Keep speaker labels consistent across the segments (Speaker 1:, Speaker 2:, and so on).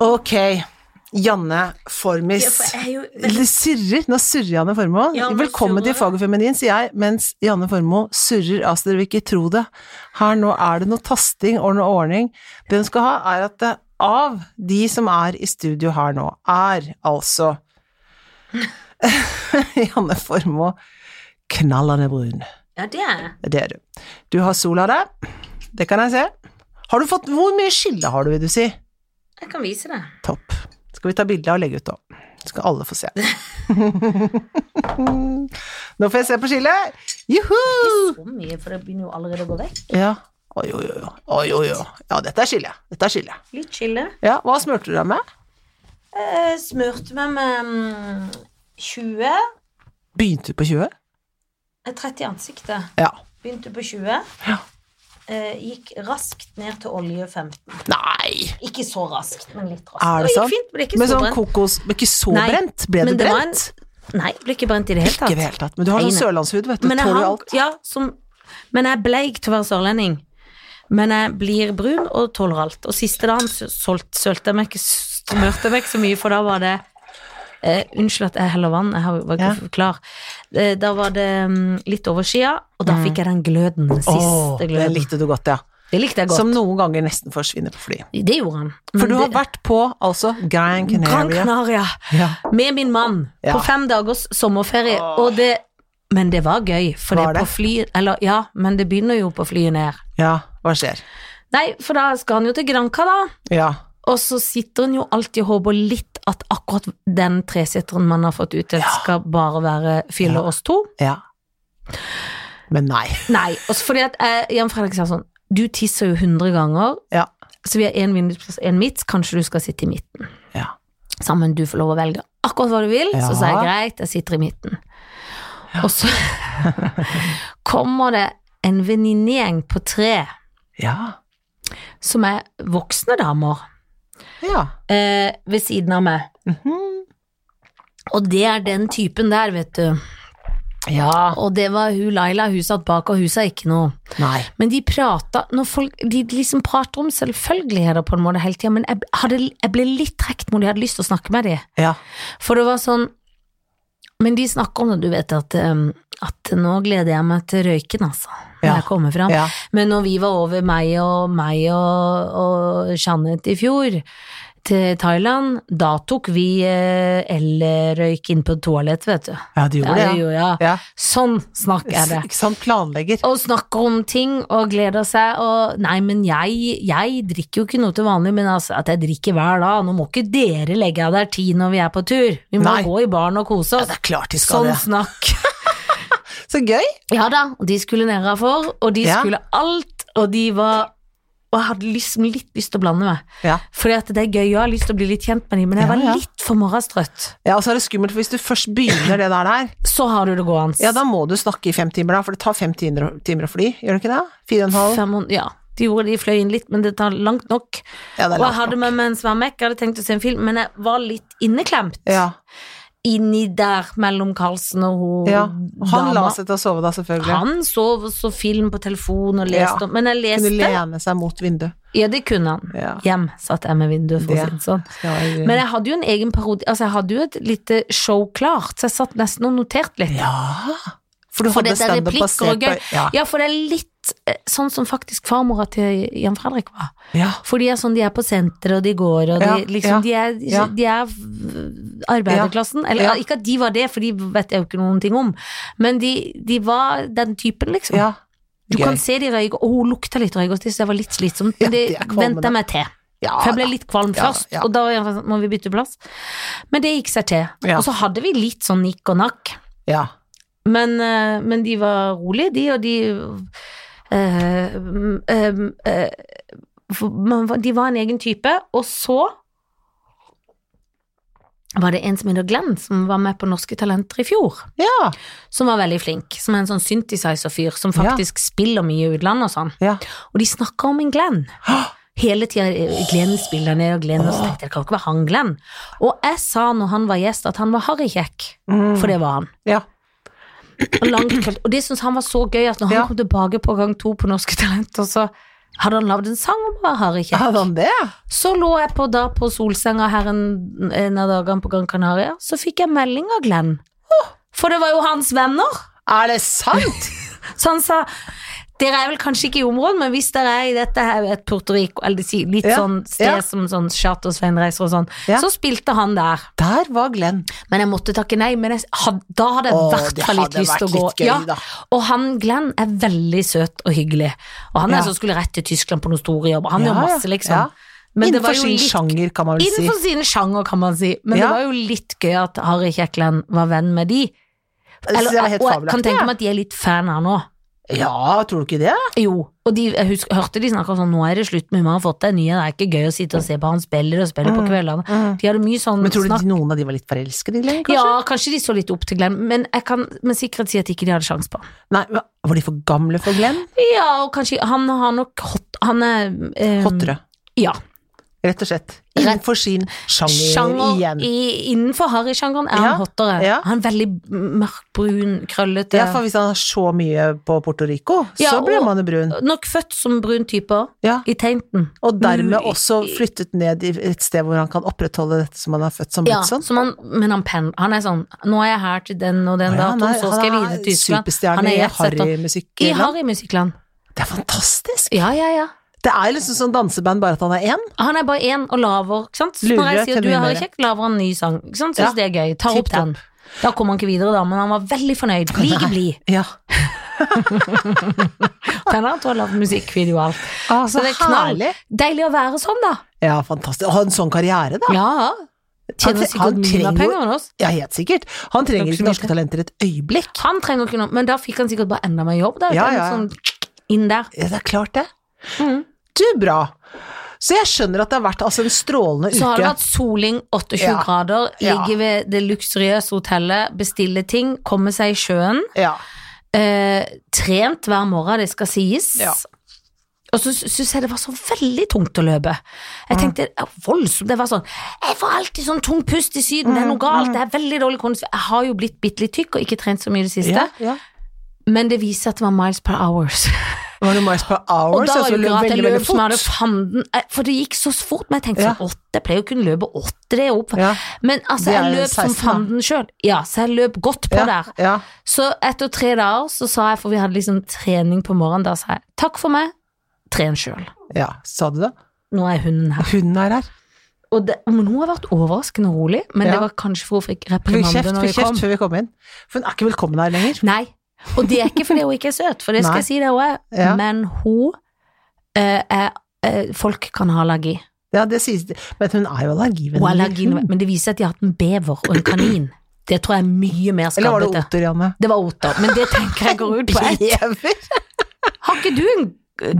Speaker 1: Ok, Janne
Speaker 2: Ja,
Speaker 1: Formis.
Speaker 2: for jeg er jo
Speaker 1: Det Surrer, Nå surrer Janne Formoe.
Speaker 2: Janne
Speaker 1: Velkommen til
Speaker 2: Formoe.
Speaker 1: Faget feminin, sier jeg, mens Janne Formoe surrer. Altså, dere vil ikke tro det. Her nå er det noe tasting og noe ordning. Det hun skal ha, er at det, av de som er i studio her nå, er altså Janne Formoe knallende brun.
Speaker 2: Ja, det er jeg.
Speaker 1: Det er du. Du har sol av deg. Det kan jeg se. Har du fått Hvor mye skille har du, vil du si?
Speaker 2: Jeg kan vise det.
Speaker 1: Topp. Skal vi ta bilde og legge ut òg? Skal alle få se. Nå får jeg se på skillet. Juhu!
Speaker 2: Så mye, for det begynner jo allerede å gå vekk.
Speaker 1: Ja. Oi, oi, oi. oi, oi, oi. Ja, dette er skillet. Dette er skillet.
Speaker 2: Litt chille.
Speaker 1: Ja, hva smurte du deg med?
Speaker 2: Jeg smurte meg med mm, 20 eh,
Speaker 1: Begynte du på 20?
Speaker 2: 30 eh, i ansiktet.
Speaker 1: Ja.
Speaker 2: Begynte på 20.
Speaker 1: Ja.
Speaker 2: Eh, Gikk raskt ned til olje 15.
Speaker 1: Nei!
Speaker 2: Ikke så raskt, men litt raskt.
Speaker 1: Er det
Speaker 2: gikk
Speaker 1: sant?
Speaker 2: fint, ble ikke
Speaker 1: Men
Speaker 2: så
Speaker 1: sånn
Speaker 2: brent.
Speaker 1: kokos Men ikke så
Speaker 2: Nei,
Speaker 1: brent? Ble du
Speaker 2: men det var en-
Speaker 1: brent?
Speaker 2: Nei, ble ikke brent i det hele
Speaker 1: Ikke
Speaker 2: tatt.
Speaker 1: i det hele tatt. Men du har
Speaker 2: Nei,
Speaker 1: sånn
Speaker 2: nei.
Speaker 1: sørlandshud, vet du.
Speaker 2: Men jeg,
Speaker 1: Tåler jo
Speaker 2: har-
Speaker 1: alt.
Speaker 2: ja, som, men jeg er bleik til å være sørlending. Men jeg blir brun og tåler alt. Og siste dagen sø- solt- sølte jeg meg ikke, smørte jeg meg ikke så mye, for da var det eh, Unnskyld at jeg heller vann, jeg har- var ikke klar. Eh, da var det mm, litt over skia, og da fikk jeg den gløden. Den siste
Speaker 1: Mm. Åh, det
Speaker 2: gløden.
Speaker 1: likte du godt, ja.
Speaker 2: det likte jeg godt.
Speaker 1: Som noen ganger nesten forsvinner på fly.
Speaker 2: det gjorde han. Men
Speaker 1: For du har
Speaker 2: det-
Speaker 1: vært på altså Gran
Speaker 2: Gran
Speaker 1: Canaria.
Speaker 2: Canaria
Speaker 1: Ja.
Speaker 2: med min mann
Speaker 1: Ja.
Speaker 2: på fem dagers sommerferie, og det Men det var gøy, for
Speaker 1: Var
Speaker 2: det er på
Speaker 1: det?
Speaker 2: fly Eller ja, men det begynner jo på flyet ned.
Speaker 1: ja, hva skjer?
Speaker 2: Nei, for da skal han jo til Granca, da.
Speaker 1: Ja.
Speaker 2: Og så sitter han jo alltid og håper litt at akkurat den treseteren man har fått utdelt, skal bare være fylle
Speaker 1: Ja.
Speaker 2: oss to.
Speaker 1: ja. Men nei.
Speaker 2: Nei, også fordi at eh, Jan Fredrik sa sånn Du tisser jo 100 ganger,
Speaker 1: Ja.
Speaker 2: så vi har én vindusplass, én midt, kanskje du skal sitte i midten.
Speaker 1: Ja.
Speaker 2: Sammen, du får lov å velge akkurat hva du vil.
Speaker 1: Ja.
Speaker 2: Så sa jeg greit, jeg sitter i midten. Og så kommer det en venninnegjeng på tre
Speaker 1: Ja.
Speaker 2: som er voksne damer
Speaker 1: Ja.
Speaker 2: eh, ved siden av meg.
Speaker 1: Mhm.
Speaker 2: Og det er den typen der, vet du.
Speaker 1: Ja.
Speaker 2: Og det var hun Laila, hun satt bak, og hun sa ikke noe.
Speaker 1: Nei.
Speaker 2: Men de prata Når folk De liksom prater om selvfølgeligheter på en måte hele tida, men jeg, hadde, jeg ble litt trukket mot de hadde lyst til å snakke med de.
Speaker 1: Ja.
Speaker 2: For det var sånn Men de snakker om det, du vet at um, at nå gleder jeg meg til røyken, altså. Når
Speaker 1: Ja.
Speaker 2: jeg kommer fram.
Speaker 1: Ja.
Speaker 2: Men når vi var over meg og meg og, og Jeanette i fjor til Thailand, da tok vi eh, el-røyk inn på toalettet, vet du.
Speaker 1: ja, du
Speaker 2: Ja,
Speaker 1: gjorde
Speaker 2: det
Speaker 1: det, ja.
Speaker 2: gjorde jeg.
Speaker 1: ja.
Speaker 2: Sånn snakker jeg det.
Speaker 1: Ikke sant, planlegger.
Speaker 2: Og snakker om ting og gleder seg og Nei, men jeg, jeg drikker jo ikke noe til vanlig, men altså, at jeg drikker hver dag Nå må ikke dere legge av der tid når vi er på tur. Vi må
Speaker 1: Nei.
Speaker 2: gå i baren og kose
Speaker 1: Ja,
Speaker 2: oss.
Speaker 1: det er klart de skal
Speaker 2: sånn
Speaker 1: det.
Speaker 2: snakk.
Speaker 1: Så gøy.
Speaker 2: Ja da, og de skulle ned for, og de
Speaker 1: Ja.
Speaker 2: skulle alt, og de var Og jeg hadde liksom litt lyst til å blande meg.
Speaker 1: Ja.
Speaker 2: Fordi at det er gøy, jeg har lyst til å bli litt kjent med dem, men jeg
Speaker 1: Ja,
Speaker 2: var
Speaker 1: ja.
Speaker 2: litt for morgenstrøtt.
Speaker 1: ja, og så er det skummelt, for hvis du først begynner det der der,
Speaker 2: Så har du det gående.
Speaker 1: ja, da må du snakke i fem timer, da, for det tar fem timer, timer å fly, gjør det ikke det? Fire og en halv?
Speaker 2: Fem, måned- ja, de gjorde det, de fløy inn litt, men det tar langt nok.
Speaker 1: Ja, det er
Speaker 2: Og jeg
Speaker 1: langt.
Speaker 2: hadde med meg en svær Mac, jeg hadde tenkt å se en film, men jeg var litt inneklemt.
Speaker 1: Ja.
Speaker 2: Inni der mellom Karlsen og hun
Speaker 1: ja. Han
Speaker 2: dama.
Speaker 1: la seg til å sove da, selvfølgelig.
Speaker 2: Han sov og så film på telefon og
Speaker 1: Ja.
Speaker 2: leste om Men jeg
Speaker 1: Kunne
Speaker 2: leste.
Speaker 1: lene seg mot vinduet.
Speaker 2: Ja, det kunne han.
Speaker 1: Ja.
Speaker 2: Hjem satt jeg med vinduet, for å
Speaker 1: Det
Speaker 2: si det sånn.
Speaker 1: skal-
Speaker 2: Men jeg hadde jo en egen parodi Altså jeg hadde jo et lite show klart Så jeg satt nesten og noterte litt
Speaker 1: Ja. For du
Speaker 2: For
Speaker 1: hadde
Speaker 2: det der
Speaker 1: standup
Speaker 2: replikker
Speaker 1: basert
Speaker 2: og
Speaker 1: på
Speaker 2: gøy
Speaker 1: ja.
Speaker 2: Ja, for det er litt eh, Sånn som faktisk farmora til Jan Fredrik var
Speaker 1: ja.
Speaker 2: For de er sånn, de er på senter og de går Og de,
Speaker 1: Ja,
Speaker 2: liksom, de er,
Speaker 1: ja.
Speaker 2: de er v- arbeiderklassen Eller
Speaker 1: Ja.
Speaker 2: ikke at de var det, for de vet jeg jo ikke noen ting om Men de, de var den typen liksom
Speaker 1: ja.
Speaker 2: Du
Speaker 1: Gøy.
Speaker 2: kan se de røyk, og hun lukta litt røyk Og det synes jeg var litt slitsomt
Speaker 1: Ja,
Speaker 2: Men det
Speaker 1: det er kvalmende.
Speaker 2: ventet jeg meg til
Speaker 1: ja,
Speaker 2: for jeg ble litt kvalm
Speaker 1: Ja,
Speaker 2: først,
Speaker 1: ja.
Speaker 2: og da var jeg sånn, må vi bytte plass. Men det gikk seg til.
Speaker 1: Ja.
Speaker 2: Og så hadde vi litt sånn nikk og nakk.
Speaker 1: ja.
Speaker 2: Men, eh, men de var rolige, de, og de eh, mm, eh, eh, for man, var- De var en egen type. Og så var det en som heter Glenn, som var med på Norske Talenter i fjor.
Speaker 1: Ja.
Speaker 2: Som var veldig flink. Som er en sånn synthesizer-fyr som faktisk spiller mye i utlandet og sånn.
Speaker 1: ja.
Speaker 2: Og de snakker om en Glenn. Hele tida Glenn spiller ned og Glenn og så tenkte jeg, det kan jo ikke være han Glenn. Og jeg sa når han var gjest at han var harrykjekk,
Speaker 1: Mm.
Speaker 2: for det var han.
Speaker 1: ja.
Speaker 2: Og, langt, kølt. og det syntes han var så gøy at når han
Speaker 1: Ja.
Speaker 2: kom tilbake på gang to på Norske Talenter, så Hadde han lagd en sang om å være harry kjekk?
Speaker 1: Hadde han det?
Speaker 2: Så lå jeg på da på solsenga her en, en av dagene på Gran Canaria, så fikk jeg melding av Glenn. For det var jo hans venner.
Speaker 1: Er det sant?
Speaker 2: Så han Sånn sa dere er vel kanskje ikke i området, men hvis dere er i dette her, et Puerto Rico, eller si- litt
Speaker 1: Ja,
Speaker 2: sånn sted
Speaker 1: ja.
Speaker 2: som sånn chartersvein reiser og sånn,
Speaker 1: Ja.
Speaker 2: så spilte han der.
Speaker 1: Der var Glenn.
Speaker 2: Men jeg måtte takke nei, men jeg, had, da hadde jeg i
Speaker 1: Åh,
Speaker 2: hvert
Speaker 1: det
Speaker 2: fall litt
Speaker 1: hadde
Speaker 2: lyst til å
Speaker 1: vært
Speaker 2: gå.
Speaker 1: litt gøy,
Speaker 2: ja.
Speaker 1: da.
Speaker 2: Og han Glenn er veldig søt og hyggelig. Og han er
Speaker 1: Ja.
Speaker 2: som skulle rett til Tyskland på noen store jobber. Han
Speaker 1: Ja,
Speaker 2: gjør
Speaker 1: ja,
Speaker 2: masse, liksom.
Speaker 1: ja.
Speaker 2: Men det
Speaker 1: Innenfor
Speaker 2: var jo
Speaker 1: sin
Speaker 2: litt
Speaker 1: sjanger, kan man vel si.
Speaker 2: Innenfor sine sjanger, kan man si. Men
Speaker 1: Ja.
Speaker 2: det var jo litt gøy at Harry Kjekland var venn med de.
Speaker 1: Så det var helt
Speaker 2: ah, og jeg kan
Speaker 1: fabelaktig.
Speaker 2: tenke
Speaker 1: ja.
Speaker 2: meg at de er litt fan her nå.
Speaker 1: Ja, tror du ikke det?
Speaker 2: Jo, og de, jeg husker, hørte de snakka sånn Nå er det slutt med har fått deg nye, det er ikke gøy å sitte og se på han spiller og spiller på kveldene. De hadde mye sånn
Speaker 1: Mm. Men tror du
Speaker 2: snakk.
Speaker 1: de- noen av de var litt forelskede i Glenn, kanskje?
Speaker 2: Ja, kanskje de så litt opp til Glenn, men jeg kan med sikkerhet si at ikke de hadde sjanse på han.
Speaker 1: Nei, hva- var de for gamle for Glenn?
Speaker 2: Ja, og kanskje Han har nok hot, Han er eh,
Speaker 1: Hottere,
Speaker 2: Ja.
Speaker 1: rett og slett. Innenfor sin sjanger,
Speaker 2: Sjanger
Speaker 1: igjen.
Speaker 2: i, innenfor harry-sjangeren er
Speaker 1: Ja,
Speaker 2: han hottere.
Speaker 1: ja.
Speaker 2: Han er veldig mørkbrun, krøllete.
Speaker 1: Ja, for hvis han har så mye på Puerto Rico,
Speaker 2: Ja,
Speaker 1: så blir
Speaker 2: og-
Speaker 1: man jo brun.
Speaker 2: Nok født som brun type
Speaker 1: Ja.
Speaker 2: i teinten.
Speaker 1: Og dermed
Speaker 2: Mm, i-
Speaker 1: også flyttet ned i et sted hvor han kan opprettholde dette som han er født som
Speaker 2: Ja,
Speaker 1: blitt sånn.
Speaker 2: som han, men han, pen, han er sånn Nå er jeg her til den og den
Speaker 1: Ja, han
Speaker 2: datoen,
Speaker 1: er-
Speaker 2: så skal jeg
Speaker 1: han
Speaker 2: videre
Speaker 1: er
Speaker 2: til Tyskland. Han
Speaker 1: Superstjerne
Speaker 2: er
Speaker 1: i
Speaker 2: jet setter.
Speaker 1: harrymusikk.
Speaker 2: I harrymusikkland.
Speaker 1: Det er fantastisk!
Speaker 2: Ja, ja, ja.
Speaker 1: Det er liksom sånn danseband, bare at han er én.
Speaker 2: Han er bare én og laver, ikke sant. Så
Speaker 1: Lurer
Speaker 2: når jeg sier
Speaker 1: til
Speaker 2: du er
Speaker 1: mye
Speaker 2: harry
Speaker 1: mer.
Speaker 2: kjekk, laver han en ny sang. Ikke sant,
Speaker 1: Ja.
Speaker 2: syns det er gøy. Tar opp
Speaker 1: Tipp topp.
Speaker 2: den. Da kom han ikke videre, da, men han var veldig fornøyd. Like blid.
Speaker 1: Ja.
Speaker 2: Tenner at du har lagd musikkvideo og alt.
Speaker 1: Ah,
Speaker 2: Så det er knall. Deilig å være sånn, da.
Speaker 1: Ja, fantastisk. Å ha en sånn karriere, da.
Speaker 2: Ja.
Speaker 1: Han-
Speaker 2: Tjener
Speaker 1: han
Speaker 2: sikkert mye
Speaker 1: trenger
Speaker 2: mer
Speaker 1: jo-
Speaker 2: penger enn oss.
Speaker 1: Ja, helt sikkert. Han trenger
Speaker 2: Takk
Speaker 1: ikke
Speaker 2: så mye.
Speaker 1: Norske Talenter et øyeblikk.
Speaker 2: Han trenger ikke noe, men da fikk han sikkert bare enda mer jobb. Da.
Speaker 1: Ja,
Speaker 2: Den
Speaker 1: ja.
Speaker 2: Sånn inn der.
Speaker 1: Ja, det er klart det.
Speaker 2: Mm.
Speaker 1: Du, bra. Så jeg skjønner at det har vært altså, en strålende
Speaker 2: Så har det
Speaker 1: uke.
Speaker 2: vært soling, 28
Speaker 1: Ja.
Speaker 2: grader,
Speaker 1: Ja.
Speaker 2: ligge ved det luksuriøse hotellet, bestille ting, komme seg i sjøen.
Speaker 1: Ja.
Speaker 2: Eh, trent hver morgen, det skal sies.
Speaker 1: Ja.
Speaker 2: Og så syns jeg det var så veldig tungt å løpe.
Speaker 1: Mm.
Speaker 2: Jeg tenkte ja, voldsomt. Det var sånn Jeg får alltid sånn tung pust i Syden, det er
Speaker 1: Mm,
Speaker 2: noe galt, det er veldig dårlig kondisjon. Jeg har jo blitt bitte litt tykk og ikke trent så mye i det siste,
Speaker 1: ja, ja.
Speaker 2: men det viser at det var miles per hours.
Speaker 1: Var det Miles per
Speaker 2: Og
Speaker 1: Hours?
Speaker 2: da var
Speaker 1: altså,
Speaker 2: det jo ikke at jeg
Speaker 1: veldig,
Speaker 2: løp
Speaker 1: veldig
Speaker 2: som
Speaker 1: fort.
Speaker 2: jeg hadde fanden eh, For det gikk så fort, men jeg tenkte
Speaker 1: Ja.
Speaker 2: sånn åtte, jeg pleier jo å kunne løpe åtte, det er jo opp.
Speaker 1: Ja.
Speaker 2: Men altså,
Speaker 1: Det er
Speaker 2: jeg
Speaker 1: jo
Speaker 2: løp som
Speaker 1: 16, da.
Speaker 2: fanden sjøl. Ja, så jeg løp godt på
Speaker 1: Ja,
Speaker 2: der.
Speaker 1: ja.
Speaker 2: Så etter tre dager så sa jeg, for vi hadde liksom trening på morgenen, da sa jeg takk for meg, tren sjøl.
Speaker 1: ja, sa du det?
Speaker 2: Nå er hunden her.
Speaker 1: Hunden er her.
Speaker 2: Og det, men hun har vært overraskende rolig, men
Speaker 1: Ja.
Speaker 2: det var kanskje for hun fikk
Speaker 1: Fikk
Speaker 2: reprimande
Speaker 1: kjeft,
Speaker 2: når vi
Speaker 1: fikk
Speaker 2: kom.
Speaker 1: kjeft før vi kom inn. For hun er ikke velkommen her lenger.
Speaker 2: Nei. Og det er ikke fordi hun ikke er søt, for det skal
Speaker 1: Nei.
Speaker 2: jeg si det hun er,
Speaker 1: Ja.
Speaker 2: men hun eh, er eh, Folk kan ha allergi.
Speaker 1: Ja, det sies Men hun er jo allergivenn.
Speaker 2: Hun er allergi, men det viser at de har hatt en bever og en kanin. Det tror jeg er mye mer
Speaker 1: Eller var det
Speaker 2: skabbete.
Speaker 1: oter, Janne?
Speaker 2: Det var oter, men det tenker jeg går ut på ett.
Speaker 1: Bever?
Speaker 2: Har ikke du en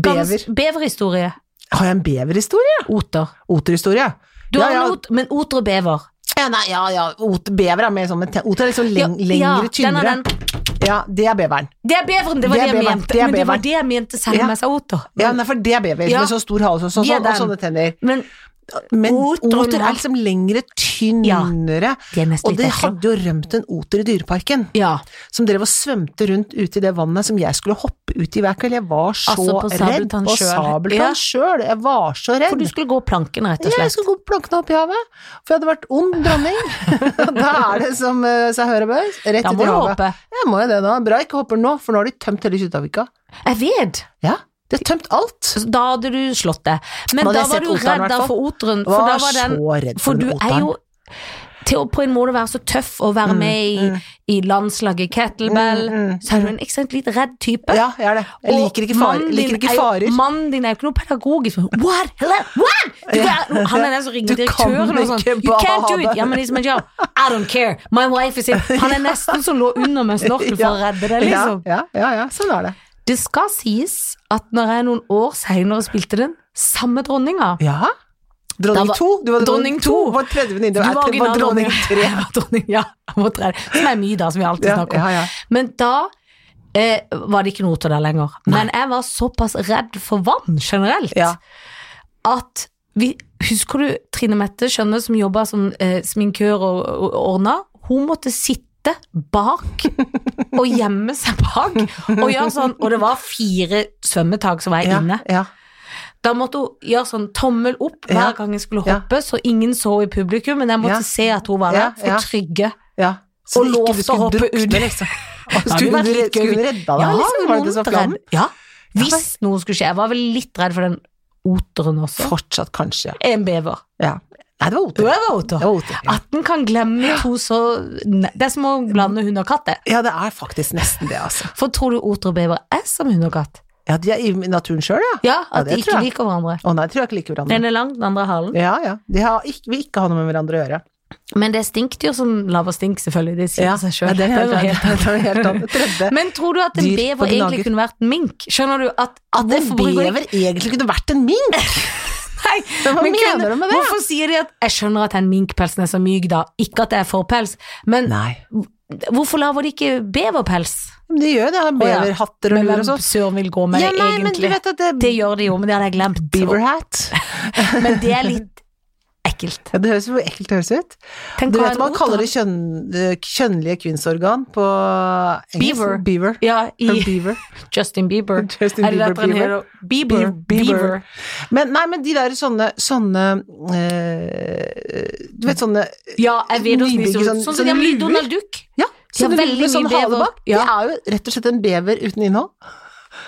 Speaker 2: gans- beverhistorie?
Speaker 1: Har jeg en beverhistorie?
Speaker 2: Oter.
Speaker 1: Oterhistorie?
Speaker 2: Du har
Speaker 1: ja,
Speaker 2: en
Speaker 1: ja.
Speaker 2: ot, men oter og bever.
Speaker 1: Ja, nei, ja, ja. Ot, bever er mer sånn men te- Oter er liksom leng,
Speaker 2: Ja, ja,
Speaker 1: lengre,
Speaker 2: den er
Speaker 1: tynnere. Ja, det er beveren.
Speaker 2: Det er beveren, det var
Speaker 1: Det
Speaker 2: det,
Speaker 1: er
Speaker 2: jeg
Speaker 1: beveren,
Speaker 2: mente.
Speaker 1: det er
Speaker 2: men det var
Speaker 1: beveren.
Speaker 2: det jeg mente selv
Speaker 1: Ja.
Speaker 2: om jeg sa oter.
Speaker 1: Mm. Ja, nei, for det er bever
Speaker 2: Ja.
Speaker 1: med så stor hals og, sånn,
Speaker 2: Vi er
Speaker 1: sånn, og
Speaker 2: den.
Speaker 1: sånne tenner.
Speaker 2: Men
Speaker 1: Men
Speaker 2: Oter-
Speaker 1: oter, er liksom lengre, tynnere.
Speaker 2: de er nesten
Speaker 1: Og
Speaker 2: litt
Speaker 1: de
Speaker 2: ekstra.
Speaker 1: hadde jo rømt en oter i Dyreparken,
Speaker 2: Ja,
Speaker 1: som drev og svømte rundt ute i det vannet som jeg skulle hoppe ut i hver kveld. Jeg var så
Speaker 2: Altså, på
Speaker 1: redd
Speaker 2: Sabeltann
Speaker 1: på
Speaker 2: selv. Ja.
Speaker 1: Sabeltann sjøl. Jeg var så redd.
Speaker 2: for du skulle gå planken, rett og
Speaker 1: Ja, jeg
Speaker 2: slett.
Speaker 1: skulle gå plankene opp i havet, for jeg hadde vært ond dronning. da er det som eh, seg hører bør, rett
Speaker 2: Da
Speaker 1: ut
Speaker 2: må
Speaker 1: i
Speaker 2: du
Speaker 1: havet.
Speaker 2: hoppe.
Speaker 1: Jeg må jo det nå. Bra jeg ikke hopper nå, for nå har de tømt hele Kjuttaviga.
Speaker 2: Jeg vet!
Speaker 1: Ja, de har tømt alt.
Speaker 2: Så Da hadde du slått det.
Speaker 1: Da hadde
Speaker 2: Men da
Speaker 1: jeg
Speaker 2: var
Speaker 1: sett
Speaker 2: du
Speaker 1: oteren,
Speaker 2: redd da
Speaker 1: hvertfall.
Speaker 2: for oteren. For,
Speaker 1: Var
Speaker 2: da var den,
Speaker 1: så redd for
Speaker 2: for du
Speaker 1: den
Speaker 2: er jo til å på en måte være så tøff og være
Speaker 1: Mm,
Speaker 2: med i, i landslaget kettlebell, så er du en ekstremt litt redd type.
Speaker 1: Ja, jeg er det. Jeg
Speaker 2: Og
Speaker 1: liker ikke farer.
Speaker 2: mannen
Speaker 1: Jeg liker
Speaker 2: din er
Speaker 1: ikke
Speaker 2: jo-
Speaker 1: farer.
Speaker 2: Mannen din er jo ikke noe pedagogisk. sånn, What? Hello? What? Du, er- han er den som ringer
Speaker 1: Du
Speaker 2: direktøren
Speaker 1: kan
Speaker 2: og sånn.
Speaker 1: ikke
Speaker 2: You can't do it.
Speaker 1: bade.
Speaker 2: Ja, men it's my job. I don't care. My wife is in. Han er nesten som lå under med en snorkel for å redde deg, liksom.
Speaker 1: Ja, ja, ja, ja, sånn er det.
Speaker 2: Det skal sies at når jeg noen år senere spilte den, samme dronninga
Speaker 1: Ja.
Speaker 2: Da
Speaker 1: Dronning
Speaker 2: var-
Speaker 1: to. Du var
Speaker 2: Dronning
Speaker 1: dronning to.
Speaker 2: to.
Speaker 1: Vår tredje venninne
Speaker 2: Du
Speaker 1: var,
Speaker 2: var original
Speaker 1: var dronning tre.
Speaker 2: Jeg var dronning, ja. jeg var tre. Som er mye, da, som vi alltid
Speaker 1: Ja,
Speaker 2: snakker om.
Speaker 1: ja, ja.
Speaker 2: Men da eh, var det ikke noe til det lenger. Men jeg var såpass redd for vann generelt
Speaker 1: Ja.
Speaker 2: at vi, Husker du Trine Mette Skjønne som jobba som eh, sminkør og, og ordna? Hun måtte sitte bak og gjemme seg bak og gjøre sånn. Og det var fire svømmetak som var
Speaker 1: Ja,
Speaker 2: inne.
Speaker 1: ja.
Speaker 2: Da måtte hun gjøre sånn tommel opp hver
Speaker 1: Ja.
Speaker 2: gang jeg skulle
Speaker 1: Ja.
Speaker 2: hoppe, så ingen så i publikum, men jeg måtte
Speaker 1: Ja.
Speaker 2: se at hun var
Speaker 1: Ja,
Speaker 2: der, for
Speaker 1: ja.
Speaker 2: trygge.
Speaker 1: Ja. Så
Speaker 2: Og
Speaker 1: det ikke-
Speaker 2: lovte
Speaker 1: du skulle
Speaker 2: å hoppe
Speaker 1: drukne,
Speaker 2: under.
Speaker 1: liksom. Skulle
Speaker 2: hadde
Speaker 1: hun
Speaker 2: vært litt gøy.
Speaker 1: redda deg,
Speaker 2: Ja,
Speaker 1: liksom?
Speaker 2: liksom,
Speaker 1: Var det det som var
Speaker 2: noen
Speaker 1: planen?
Speaker 2: redd. Ja,
Speaker 1: Ja,
Speaker 2: hvis noe skulle skje. Jeg var vel litt redd for den oteren også.
Speaker 1: Fortsatt kanskje, ja.
Speaker 2: En bever.
Speaker 1: ja. Nei, det var
Speaker 2: Jo,
Speaker 1: oter.
Speaker 2: jeg var
Speaker 1: Det
Speaker 2: oter.
Speaker 1: var oter.
Speaker 2: At en kan glemme to så ne- Det er som å blande hund og katt, det.
Speaker 1: Ja, det er faktisk nesten det, altså.
Speaker 2: For tror du oter og bever er som hund og katt?
Speaker 1: Ja, de er i naturen sjøl, ja.
Speaker 2: Ja,
Speaker 1: Ja,
Speaker 2: at
Speaker 1: det
Speaker 2: de
Speaker 1: tror
Speaker 2: ikke
Speaker 1: jeg.
Speaker 2: liker hverandre.
Speaker 1: Å nei, tror jeg ikke liker hverandre.
Speaker 2: Den er lang, den andre er halen.
Speaker 1: Ja, ja. De har ikke, vil ikke ha noe med hverandre å gjøre.
Speaker 2: Men det er stinkdyr som lager stink, selvfølgelig. Det sier seg
Speaker 1: Ja,
Speaker 2: sjøl.
Speaker 1: det er noe helt, det er noe helt annet. Tredje.
Speaker 2: Men tror du at en
Speaker 1: Dyr på
Speaker 2: bever egentlig
Speaker 1: gnager.
Speaker 2: kunne vært mink? Skjønner du at, at
Speaker 1: En bever egentlig kunne vært en mink!
Speaker 2: Nei,
Speaker 1: hva
Speaker 2: men
Speaker 1: mener
Speaker 2: kunne-
Speaker 1: du med det?
Speaker 2: Hvorfor sier de at Jeg skjønner at den minkpelsen er så myk, da. Ikke at det er forpels, men
Speaker 1: Nei.
Speaker 2: hvorfor lager de ikke beverpels?
Speaker 1: Men de gjør det, har
Speaker 2: ja.
Speaker 1: beverhatter og
Speaker 2: Men
Speaker 1: lur
Speaker 2: hvem
Speaker 1: og sånn.
Speaker 2: søren vil gå med
Speaker 1: Ja,
Speaker 2: det
Speaker 1: nei, men du
Speaker 2: egentlig?
Speaker 1: vet at det
Speaker 2: Det gjør de jo, men det hadde jeg glemt.
Speaker 1: Beaver hat.
Speaker 2: Men det er litt ekkelt.
Speaker 1: Ja, det høres jo hvor ekkelt det høres ut.
Speaker 2: Tenk
Speaker 1: Du
Speaker 2: hva
Speaker 1: vet
Speaker 2: en
Speaker 1: man
Speaker 2: oter-
Speaker 1: kaller det kjønn, det kjønnlige kvinnsorgan på engelsk?
Speaker 2: Beaver.
Speaker 1: Beaver.
Speaker 2: Ja,
Speaker 1: Her
Speaker 2: i
Speaker 1: beaver.
Speaker 2: Justin Bieber.
Speaker 1: Justin
Speaker 2: er det
Speaker 1: Bieber,
Speaker 2: derfor han
Speaker 1: Bieber.
Speaker 2: heter Bieber?
Speaker 1: Bieber.
Speaker 2: Bieber.
Speaker 1: Men nei, men de der sånne, sånne eh, Du vet sånne
Speaker 2: Ja, jeg vet hvordan de
Speaker 1: Nybygget
Speaker 2: ser ut.
Speaker 1: sånn-
Speaker 2: Sånn som de
Speaker 1: sånne
Speaker 2: har med
Speaker 1: luer.
Speaker 2: Donald Duck.
Speaker 1: Ja,
Speaker 2: De har
Speaker 1: sånne
Speaker 2: veldig
Speaker 1: med sånn
Speaker 2: mye bever.
Speaker 1: hale bak.
Speaker 2: Ja.
Speaker 1: Det er jo rett og slett en bever uten innhold.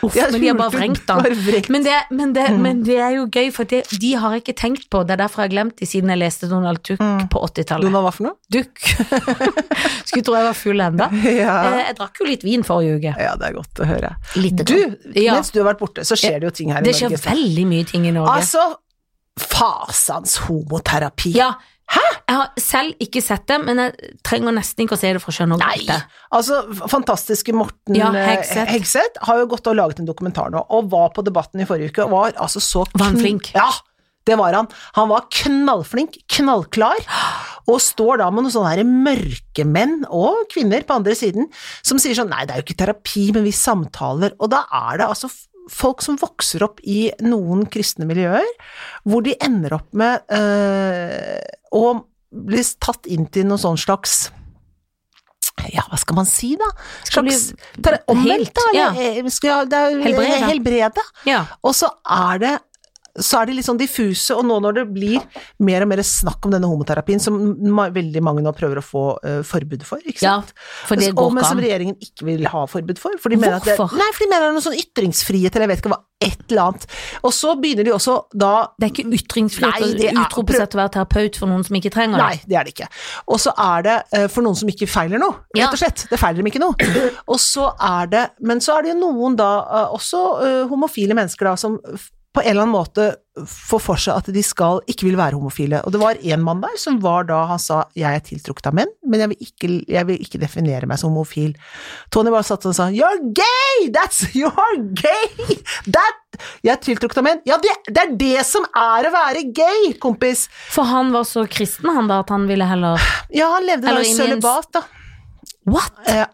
Speaker 2: Uff, men de har bare
Speaker 1: hult ut,
Speaker 2: vrengt den.
Speaker 1: bare Mm. vrengt.
Speaker 2: Men det, men, det, men det er jo gøy, for det, de har jeg ikke tenkt på. Det er derfor jeg har glemt de siden jeg leste Donald Duck
Speaker 1: Mm.
Speaker 2: på 80-tallet.
Speaker 1: Donald, hva for noe?
Speaker 2: Duck. Skulle tro jeg var full ennå.
Speaker 1: Ja.
Speaker 2: Jeg drakk jo litt vin forrige uke.
Speaker 1: Ja, det er godt å høre.
Speaker 2: Lite
Speaker 1: Du,
Speaker 2: grann. ja,
Speaker 1: mens du har vært borte, så skjer det jo ting her i
Speaker 2: det skjer
Speaker 1: Norge.
Speaker 2: veldig mye ting i Norge.
Speaker 1: Altså, fasans homoterapi.
Speaker 2: ja. Jeg har selv ikke sett det, men jeg trenger nesten ikke å se det for å skjønne
Speaker 1: Nei!
Speaker 2: det.
Speaker 1: Altså, fantastiske Morten
Speaker 2: Ja,
Speaker 1: eh,
Speaker 2: Hegseth.
Speaker 1: Hegseth har jo gått og laget en dokumentar nå, og var på Debatten i forrige uke, og var altså så
Speaker 2: Var han
Speaker 1: kn-
Speaker 2: flink?
Speaker 1: Ja! Det var han. Han var knallflink, knallklar, og står da med noen sånne her mørkemenn og kvinner på andre siden som sier sånn Nei, det er jo ikke terapi, men vi samtaler. Og da er det altså f- folk som vokser opp i noen kristne miljøer, hvor de ender opp med eh, å bli tatt inn til noen sånn slags ja, hva skal man si da?
Speaker 2: Skal bli
Speaker 1: Slags ter- omvendt,
Speaker 2: helt-
Speaker 1: da?
Speaker 2: ja.
Speaker 1: Eller, eh, skal, det er,
Speaker 2: Helbrede.
Speaker 1: helbrede. helbrede.
Speaker 2: Ja.
Speaker 1: Og så er det så er de litt sånn diffuse, og nå når det blir mer og mer snakk om denne homoterapien, som ma- veldig mange nå prøver å få eh, forbud for, ikke
Speaker 2: ja,
Speaker 1: sant?
Speaker 2: for det
Speaker 1: og,
Speaker 2: går
Speaker 1: men
Speaker 2: ikke
Speaker 1: som
Speaker 2: an.
Speaker 1: regjeringen ikke vil ha forbud for. for de mener at det,
Speaker 2: Hvorfor?
Speaker 1: nei, for de mener det er noe sånn ytringsfrihet, eller jeg vet ikke hva, et eller annet. Og så begynner de også da
Speaker 2: Det er ikke
Speaker 1: Nei,
Speaker 2: ytringsfrihet
Speaker 1: det er-
Speaker 2: å utrope seg til å være terapeut for noen som ikke trenger det.
Speaker 1: Nei, det er det ikke. Og så er det eh, for noen som ikke feiler noe,
Speaker 2: Ja.
Speaker 1: rett og slett. Det feiler dem ikke noe. Og så er det Men så er det jo noen da, eh, også eh, homofile mennesker da, som f- på en eller annen måte får for seg at de skal, ikke vil være homofile. Og det var en mann der som var da han sa 'jeg er tiltrukket av menn, men jeg vil ikke, jeg vil ikke definere meg som homofil'. Tony bare satt sånn og sa 'you're gay! That's you're gay! That Jeg er tiltrukket av menn. Ja, det, det er det som er å være gay, kompis!
Speaker 2: For han var så kristen, han da, at han ville heller
Speaker 1: Ja, han levde da i
Speaker 2: Eller inn i en-
Speaker 1: sølibat, da.
Speaker 2: What?
Speaker 1: Ja.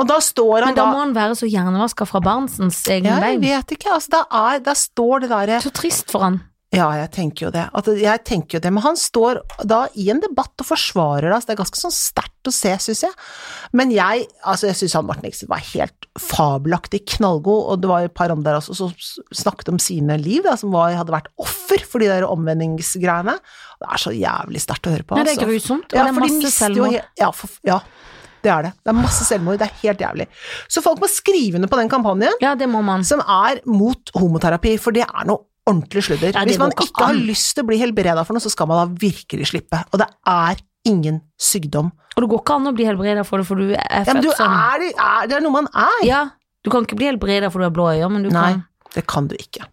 Speaker 1: Og da står han
Speaker 2: Men da må
Speaker 1: da
Speaker 2: han være så hjernevaska fra Barentsens egen
Speaker 1: ja,
Speaker 2: vei.
Speaker 1: jeg vet ikke, altså, da, er, da står det derre
Speaker 2: Så trist for han.
Speaker 1: Ja, jeg tenker jo det. At jeg tenker jo det. Men han står da i en debatt og forsvarer det, altså det er ganske sånn sterkt å se, syns jeg. Men jeg, altså jeg syns han Martin Eksen var helt fabelaktig knallgod, og det var et par andre der også som s- snakket om sine liv, da, som var, hadde vært offer for de der omvendingsgreiene. Det er så jævlig sterkt å høre på, altså.
Speaker 2: Nei, det er grusomt, og det er
Speaker 1: for de
Speaker 2: masse
Speaker 1: mister jo
Speaker 2: selvmord.
Speaker 1: he- ja, for, ja, det er det. Det er masse selvmord, det er helt jævlig. Så folk må skrive under på den kampanjen
Speaker 2: Ja, det må man.
Speaker 1: som er mot homoterapi, for det er noe ordentlig sludder.
Speaker 2: Ja, det
Speaker 1: Hvis man
Speaker 2: går ikke
Speaker 1: ikke har
Speaker 2: an.
Speaker 1: lyst til å bli helbreda for noe, så skal man da virkelig slippe. Og det er ingen sykdom.
Speaker 2: Og det går ikke an å bli helbreda for det, for du er
Speaker 1: Ja, men
Speaker 2: født
Speaker 1: du
Speaker 2: sånn.
Speaker 1: er, er Det er noe man er.
Speaker 2: Ja, du kan ikke bli helbreda for du har blå øyne, men du
Speaker 1: Nei,
Speaker 2: kan
Speaker 1: det kan du ikke.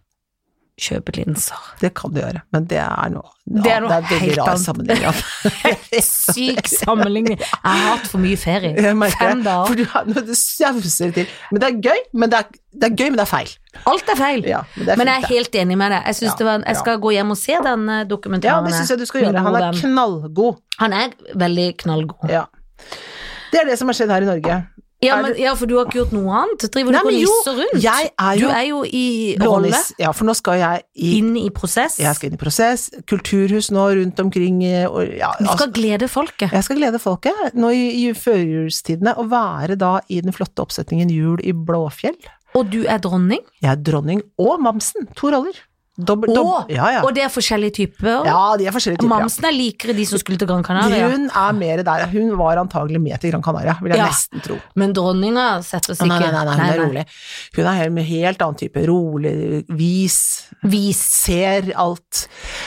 Speaker 2: kjøpe linser.
Speaker 1: Det kan du gjøre, men det er noe ja,
Speaker 2: Det er noe
Speaker 1: veldig
Speaker 2: helt
Speaker 1: rar
Speaker 2: annet.
Speaker 1: sammenheng. ja.
Speaker 2: Syk sammenligning. Jeg har hatt for mye ferie.
Speaker 1: Jeg merker
Speaker 2: Fem
Speaker 1: det.
Speaker 2: dager.
Speaker 1: For du, har- når du sauser det til. Men det er gøy, men det er, det er, gøy, men det er feil.
Speaker 2: Alt er feil.
Speaker 1: Ja, men det er
Speaker 2: Men
Speaker 1: fint,
Speaker 2: jeg er
Speaker 1: det.
Speaker 2: helt enig med deg. Jeg, synes
Speaker 1: Ja,
Speaker 2: det var en, jeg
Speaker 1: ja.
Speaker 2: skal gå hjem og se den eh,
Speaker 1: Ja,
Speaker 2: dokumentaren. eh,
Speaker 1: det syns jeg du skal
Speaker 2: Min
Speaker 1: gjøre. Han
Speaker 2: gode
Speaker 1: er
Speaker 2: venn.
Speaker 1: knallgod.
Speaker 2: Han er veldig knallgod.
Speaker 1: Ja. Det er det som har skjedd her i Norge.
Speaker 2: Ja,
Speaker 1: Er
Speaker 2: men, ja, for du har ikke gjort noe annet. Driver du
Speaker 1: Nei,
Speaker 2: ikke og
Speaker 1: men jo,
Speaker 2: nisser rundt?
Speaker 1: jeg er jo
Speaker 2: du er jo i rolle,
Speaker 1: Blånis. Ja, for nå skal jeg i
Speaker 2: inn i prosess.
Speaker 1: Jeg skal inn i prosess. Kulturhus nå rundt omkring. eh, Og, ja,
Speaker 2: Du
Speaker 1: altså,
Speaker 2: skal glede folket.
Speaker 1: jeg skal glede folket nå i, i førjulstidene, og være da i den flotte oppsetningen Jul i Blåfjell.
Speaker 2: Og du er dronning.
Speaker 1: Jeg er dronning og Mamsen. To roller. Dobbel,
Speaker 2: Og,
Speaker 1: dobbel, ja, ja.
Speaker 2: og det er forskjellige typer.
Speaker 1: ja, de er forskjellige typer. ja.
Speaker 2: Mamsen er likere de som skulle til Gran Canaria.
Speaker 1: Hun er mer der. Hun var antagelig med til Gran Canaria, vil jeg
Speaker 2: Ja.
Speaker 1: nesten tro.
Speaker 2: Men dronninga setter oss ikke
Speaker 1: Ah, Nei, nei, nei, hun er rolig. Hun er en helt annen type. Rolig, vis,
Speaker 2: Vis.
Speaker 1: ser alt.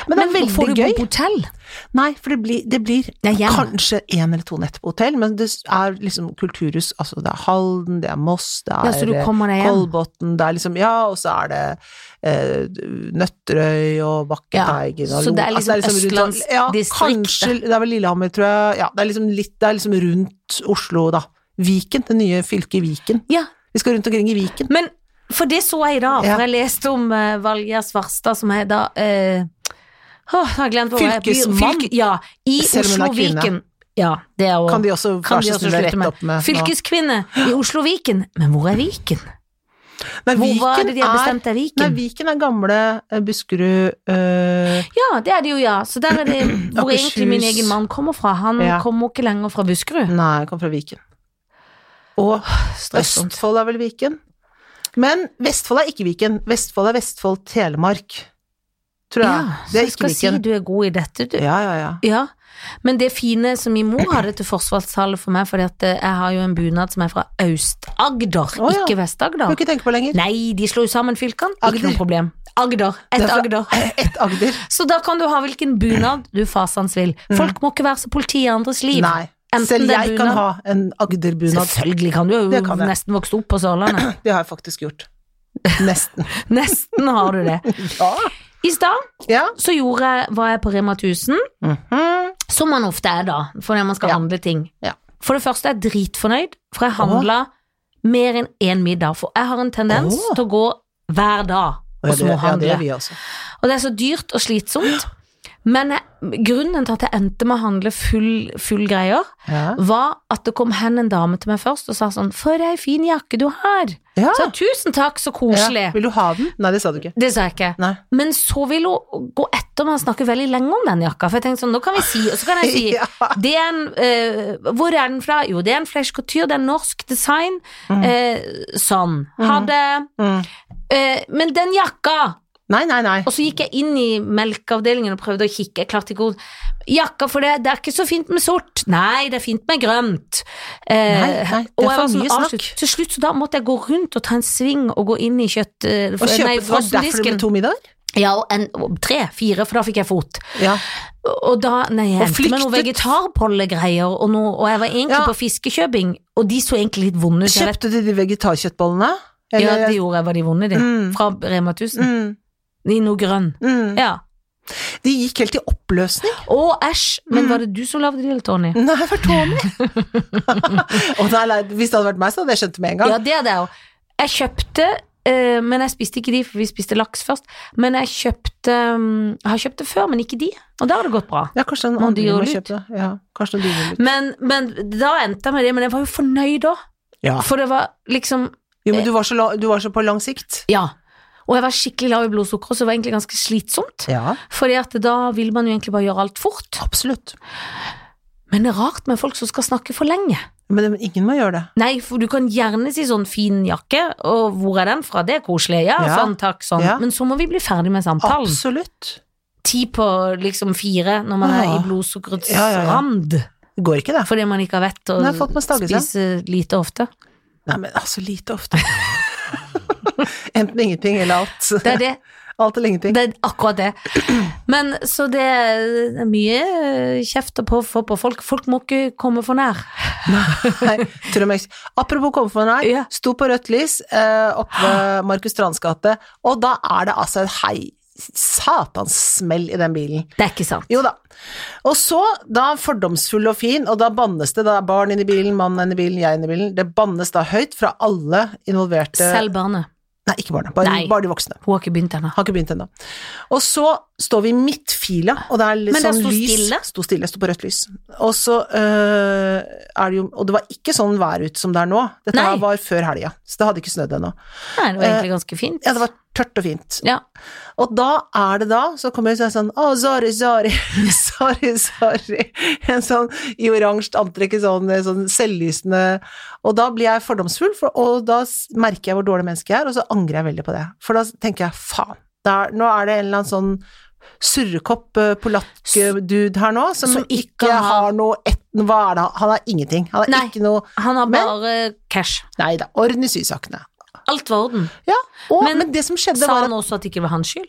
Speaker 1: Men det er
Speaker 2: Men får
Speaker 1: veldig
Speaker 2: du bo
Speaker 1: gøy.
Speaker 2: på hotell?
Speaker 1: Nei, for det blir, det blir
Speaker 2: Det er hjem.
Speaker 1: kanskje en eller to netter på hotell, men det er liksom kulturhus, altså det er Halden, det er Moss, det
Speaker 2: Ja, så
Speaker 1: er
Speaker 2: du
Speaker 1: eh,
Speaker 2: kommer deg hjem.
Speaker 1: Kolbotn, det er liksom, ja, og så er det eh, Nøtterøy og Bakketeigen
Speaker 2: Ja,
Speaker 1: og
Speaker 2: så det er
Speaker 1: Lo- altså,
Speaker 2: liksom
Speaker 1: rundt-
Speaker 2: Østlandsdistriktet.
Speaker 1: Ja, kanskje, det er vel Lillehammer, tror jeg, ja, det er liksom litt, det er liksom rundt Oslo da. Viken, det nye fylket Viken.
Speaker 2: Ja,
Speaker 1: Vi skal rundt omkring i Viken.
Speaker 2: Men for det så jeg i dag,
Speaker 1: Ja.
Speaker 2: for jeg leste om uh, Valgerd Svarstad, som er da eh, åh, jeg har glemt hvor jeg er. By-
Speaker 1: Fylkesmann.
Speaker 2: fylke- ja, i
Speaker 1: Selv om hun er kvinne.
Speaker 2: Oslo-Viken. Ja, det er også,
Speaker 1: Kan de også,
Speaker 2: kan de
Speaker 1: vær så
Speaker 2: også
Speaker 1: snill,
Speaker 2: slutte
Speaker 1: rette
Speaker 2: med.
Speaker 1: opp med nå?
Speaker 2: Fylkeskvinne i Oslo-Viken. Men hvor er Viken?
Speaker 1: Nei,
Speaker 2: Hvor var det de har
Speaker 1: er-
Speaker 2: bestemt er
Speaker 1: Nei,
Speaker 2: Viken?
Speaker 1: Viken er gamle eh, Buskerud eh,
Speaker 2: Ja, det er det jo, ja. Så der er det hvor
Speaker 1: Akershus.
Speaker 2: egentlig min egen mann kommer fra. Han
Speaker 1: Ja.
Speaker 2: kommer ikke lenger fra Buskerud.
Speaker 1: Nei, jeg kom fra Viken. Og
Speaker 2: Strømsomt.
Speaker 1: Østfold er vel Viken? Men Vestfold er ikke Viken. Vestfold er Vestfold Telemark, tror jeg.
Speaker 2: Ja, så
Speaker 1: det
Speaker 2: jeg
Speaker 1: er ikke
Speaker 2: skal si
Speaker 1: Viken.
Speaker 2: du er god i dette, du.
Speaker 1: Ja, ja, ja.
Speaker 2: Ja, men det fine som min mor hadde til forsvarstale for meg, fordi at eh, jeg har jo en bunad som er fra Aust-Agder,
Speaker 1: Å, ja.
Speaker 2: ikke
Speaker 1: Kan du
Speaker 2: Vest-Agder.
Speaker 1: ikke tenke på lenger.
Speaker 2: Nei, de slo jo sammen fylkene, ikke
Speaker 1: Agder.
Speaker 2: noe problem. Agder,
Speaker 1: Det
Speaker 2: et
Speaker 1: er fra-
Speaker 2: Agder.
Speaker 1: Ett Agder.
Speaker 2: Så da kan du ha hvilken bunad du fasans vil. Folk må ikke være så politi i andres liv.
Speaker 1: Nei.
Speaker 2: Enten
Speaker 1: Selv
Speaker 2: det er
Speaker 1: jeg kan
Speaker 2: bunad-
Speaker 1: ha en Agder-bunad.
Speaker 2: Selvfølgelig kan du, du
Speaker 1: Det
Speaker 2: har
Speaker 1: kan
Speaker 2: jo
Speaker 1: jeg.
Speaker 2: nesten vokst opp på Sørlandet.
Speaker 1: Det har jeg faktisk gjort. Nesten.
Speaker 2: Nesten har du det.
Speaker 1: Ja.
Speaker 2: I stad
Speaker 1: ja.
Speaker 2: så gjorde jeg, var jeg på Rema 1000,
Speaker 1: Mhm.
Speaker 2: Som man ofte er da, for når man skal
Speaker 1: Ja.
Speaker 2: handle ting.
Speaker 1: Ja.
Speaker 2: For det første er jeg dritfornøyd, for jeg handla mer enn én middag. For jeg har en tendens
Speaker 1: Åh.
Speaker 2: til å gå hver dag
Speaker 1: Ja, det, ja,
Speaker 2: og
Speaker 1: det
Speaker 2: småhandle.
Speaker 1: er vi også.
Speaker 2: og det er så dyrt og slitsomt. Men jeg, grunnen til at jeg endte med å handle full, full greier,
Speaker 1: Ja.
Speaker 2: var at det kom hen en dame til meg først og sa sånn For ei fin jakke du har.
Speaker 1: Ja.
Speaker 2: Så jeg, tusen takk, så koselig.
Speaker 1: Ja. Vil du ha den? Nei, det sa du ikke.
Speaker 2: Det sa jeg ikke.
Speaker 1: Nei.
Speaker 2: Men så vil hun gå etter meg og snakke veldig lenge om den jakka. For jeg tenkte sånn, nå kan vi si, og så kan jeg si
Speaker 1: Ja.
Speaker 2: det er en, eh, Hvor er den fra? Jo, det er en flesh couture, det er norsk design. Eh, sånn. Ha det.
Speaker 1: Mm.
Speaker 2: Eh, men den jakka!
Speaker 1: Nei, nei, nei.
Speaker 2: Og så gikk jeg inn i melkeavdelingen og prøvde å kikke. Jeg klarte ikke å Jakka for det, det er ikke så fint med sort. Nei, det er fint med grønt. Eh,
Speaker 1: Nei, nei, det er
Speaker 2: og jeg
Speaker 1: for
Speaker 2: var
Speaker 1: mye
Speaker 2: sånn,
Speaker 1: snakk.
Speaker 2: avslutt. Til slutt så da måtte jeg gå rundt og ta en sving og gå inn i kjøtt... eh,
Speaker 1: Og
Speaker 2: nei,
Speaker 1: kjøpe, det var derfor det ble
Speaker 2: frossendisken.
Speaker 1: to middager?
Speaker 2: Ja, og en, og tre, fire, for da fikk jeg fot.
Speaker 1: Ja.
Speaker 2: Og da, nei, jeg
Speaker 1: Og
Speaker 2: endte med noen
Speaker 1: flyktet.
Speaker 2: vegetarbollegreier, og, noe- og jeg var egentlig
Speaker 1: Ja.
Speaker 2: på fiskekjøping, og de så egentlig litt vonde ut. Jeg vet,
Speaker 1: Kjøpte du de vegetarkjøttbollene?
Speaker 2: ja, de gjorde jeg var de vonde, de.
Speaker 1: Mm.
Speaker 2: Fra Rema 1000.
Speaker 1: Mm,
Speaker 2: I noe grønn.
Speaker 1: mm.
Speaker 2: Ja.
Speaker 1: De gikk helt i oppløsning.
Speaker 2: Å, æsj! Men
Speaker 1: Mm.
Speaker 2: var det du som lagde de, eller Tony?
Speaker 1: Nei, det var Tony! Å, nei, nei, hvis det hadde vært meg, så hadde jeg skjønt det med en gang.
Speaker 2: Ja, det er det jo. Jeg kjøpte, eh, men jeg spiste ikke de, for vi spiste laks først. Men jeg kjøpte mm, Jeg har kjøpt det før, men ikke de. Og da har det gått bra.
Speaker 1: Ja, kanskje en
Speaker 2: Noen
Speaker 1: andre må
Speaker 2: dyrelut.
Speaker 1: kjøpe det. Ja, kanskje en dyrelut.
Speaker 2: Men, men da endte jeg med det, men jeg var jo fornøyd òg.
Speaker 1: Ja.
Speaker 2: For det var liksom
Speaker 1: Jo, men du var, så la, du var så på lang sikt.
Speaker 2: Ja. Og jeg var skikkelig lav i blodsukkeret, så det var egentlig ganske slitsomt.
Speaker 1: Ja,
Speaker 2: Fordi at da vil man jo egentlig bare gjøre alt fort.
Speaker 1: absolutt.
Speaker 2: Men det er rart med folk som skal snakke for lenge.
Speaker 1: Men det- ingen må gjøre det.
Speaker 2: Nei, for du kan gjerne si sånn fin jakke, og hvor er den fra, det er koselig, ja,
Speaker 1: Ja.
Speaker 2: sånn, takk, sånn.
Speaker 1: Ja.
Speaker 2: Men så må vi bli ferdig med samtalen.
Speaker 1: Absolutt.
Speaker 2: Ti på liksom fire når man er
Speaker 1: Ja.
Speaker 2: i blodsukkerets
Speaker 1: Ah. Ja, ja, ja.
Speaker 2: rand,
Speaker 1: Det går ikke, det.
Speaker 2: fordi man ikke har vett å
Speaker 1: Nei, folk må stagge seg.
Speaker 2: spise lite ofte.
Speaker 1: Nei, men altså, lite ofte. Enten ingenting eller alt.
Speaker 2: Det er det,
Speaker 1: Alt eller ingenting.
Speaker 2: det er akkurat det. Men så det er mye eh, kjeft å på, få på folk. Folk må ikke komme for nær.
Speaker 1: Nei, til og med Apropos komme for nær,
Speaker 2: Ja.
Speaker 1: sto på rødt lys eh, oppe ved Markus Strands gate, og da er det altså et hei satans smell i den bilen.
Speaker 2: Det er ikke sant.
Speaker 1: Jo da. Og så, da fordomsfull og fin, og da bannes det, da er barn inne i bilen, mann inne i bilen, jeg inne i bilen, det bannes da høyt fra alle involverte
Speaker 2: Selv barnet.
Speaker 1: Nei, ikke barna, bare,
Speaker 2: Nei.
Speaker 1: bare de voksne.
Speaker 2: Hun har ikke begynt ennå.
Speaker 1: Har ikke begynt ennå. Og så står vi i midtfila, og det er litt
Speaker 2: Men det
Speaker 1: sånn
Speaker 2: sto
Speaker 1: lys
Speaker 2: stille?
Speaker 1: Sto stille, sto på rødt lys. Og så øh, er det jo Og det var ikke sånn vær ute som det er nå. Dette
Speaker 2: Nei.
Speaker 1: her var før helga, så det hadde ikke snødd ennå.
Speaker 2: Nei, det var egentlig ganske fint.
Speaker 1: Eh, Ja, det var tørt og fint.
Speaker 2: Ja.
Speaker 1: Og da er det da, så kommer det sånn Å, sorry, sorry, sorry, sorry. En sånn i oransje antrekk, en sånn, en sånn selvlysende Og da blir jeg fordomsfull, for, og da s- merker jeg hvor dårlig menneske jeg er, og så angrer jeg veldig på det. For da tenker jeg faen, der, nå er det en eller annen sånn surrekopp eh, polakk-dude her nå, som,
Speaker 2: Som ikke
Speaker 1: ikke
Speaker 2: har-
Speaker 1: har noe et, Hva er det han- Han har ingenting. Han har
Speaker 2: Nei.
Speaker 1: ikke noe
Speaker 2: Han har
Speaker 1: Men-
Speaker 2: bare cash.
Speaker 1: Nei da, orden i sysakene.
Speaker 2: Alt var orden.
Speaker 1: Ja, og,
Speaker 2: Men
Speaker 1: men, det som skjedde,
Speaker 2: Sa
Speaker 1: var
Speaker 2: han
Speaker 1: at
Speaker 2: også at det ikke var hans skyld?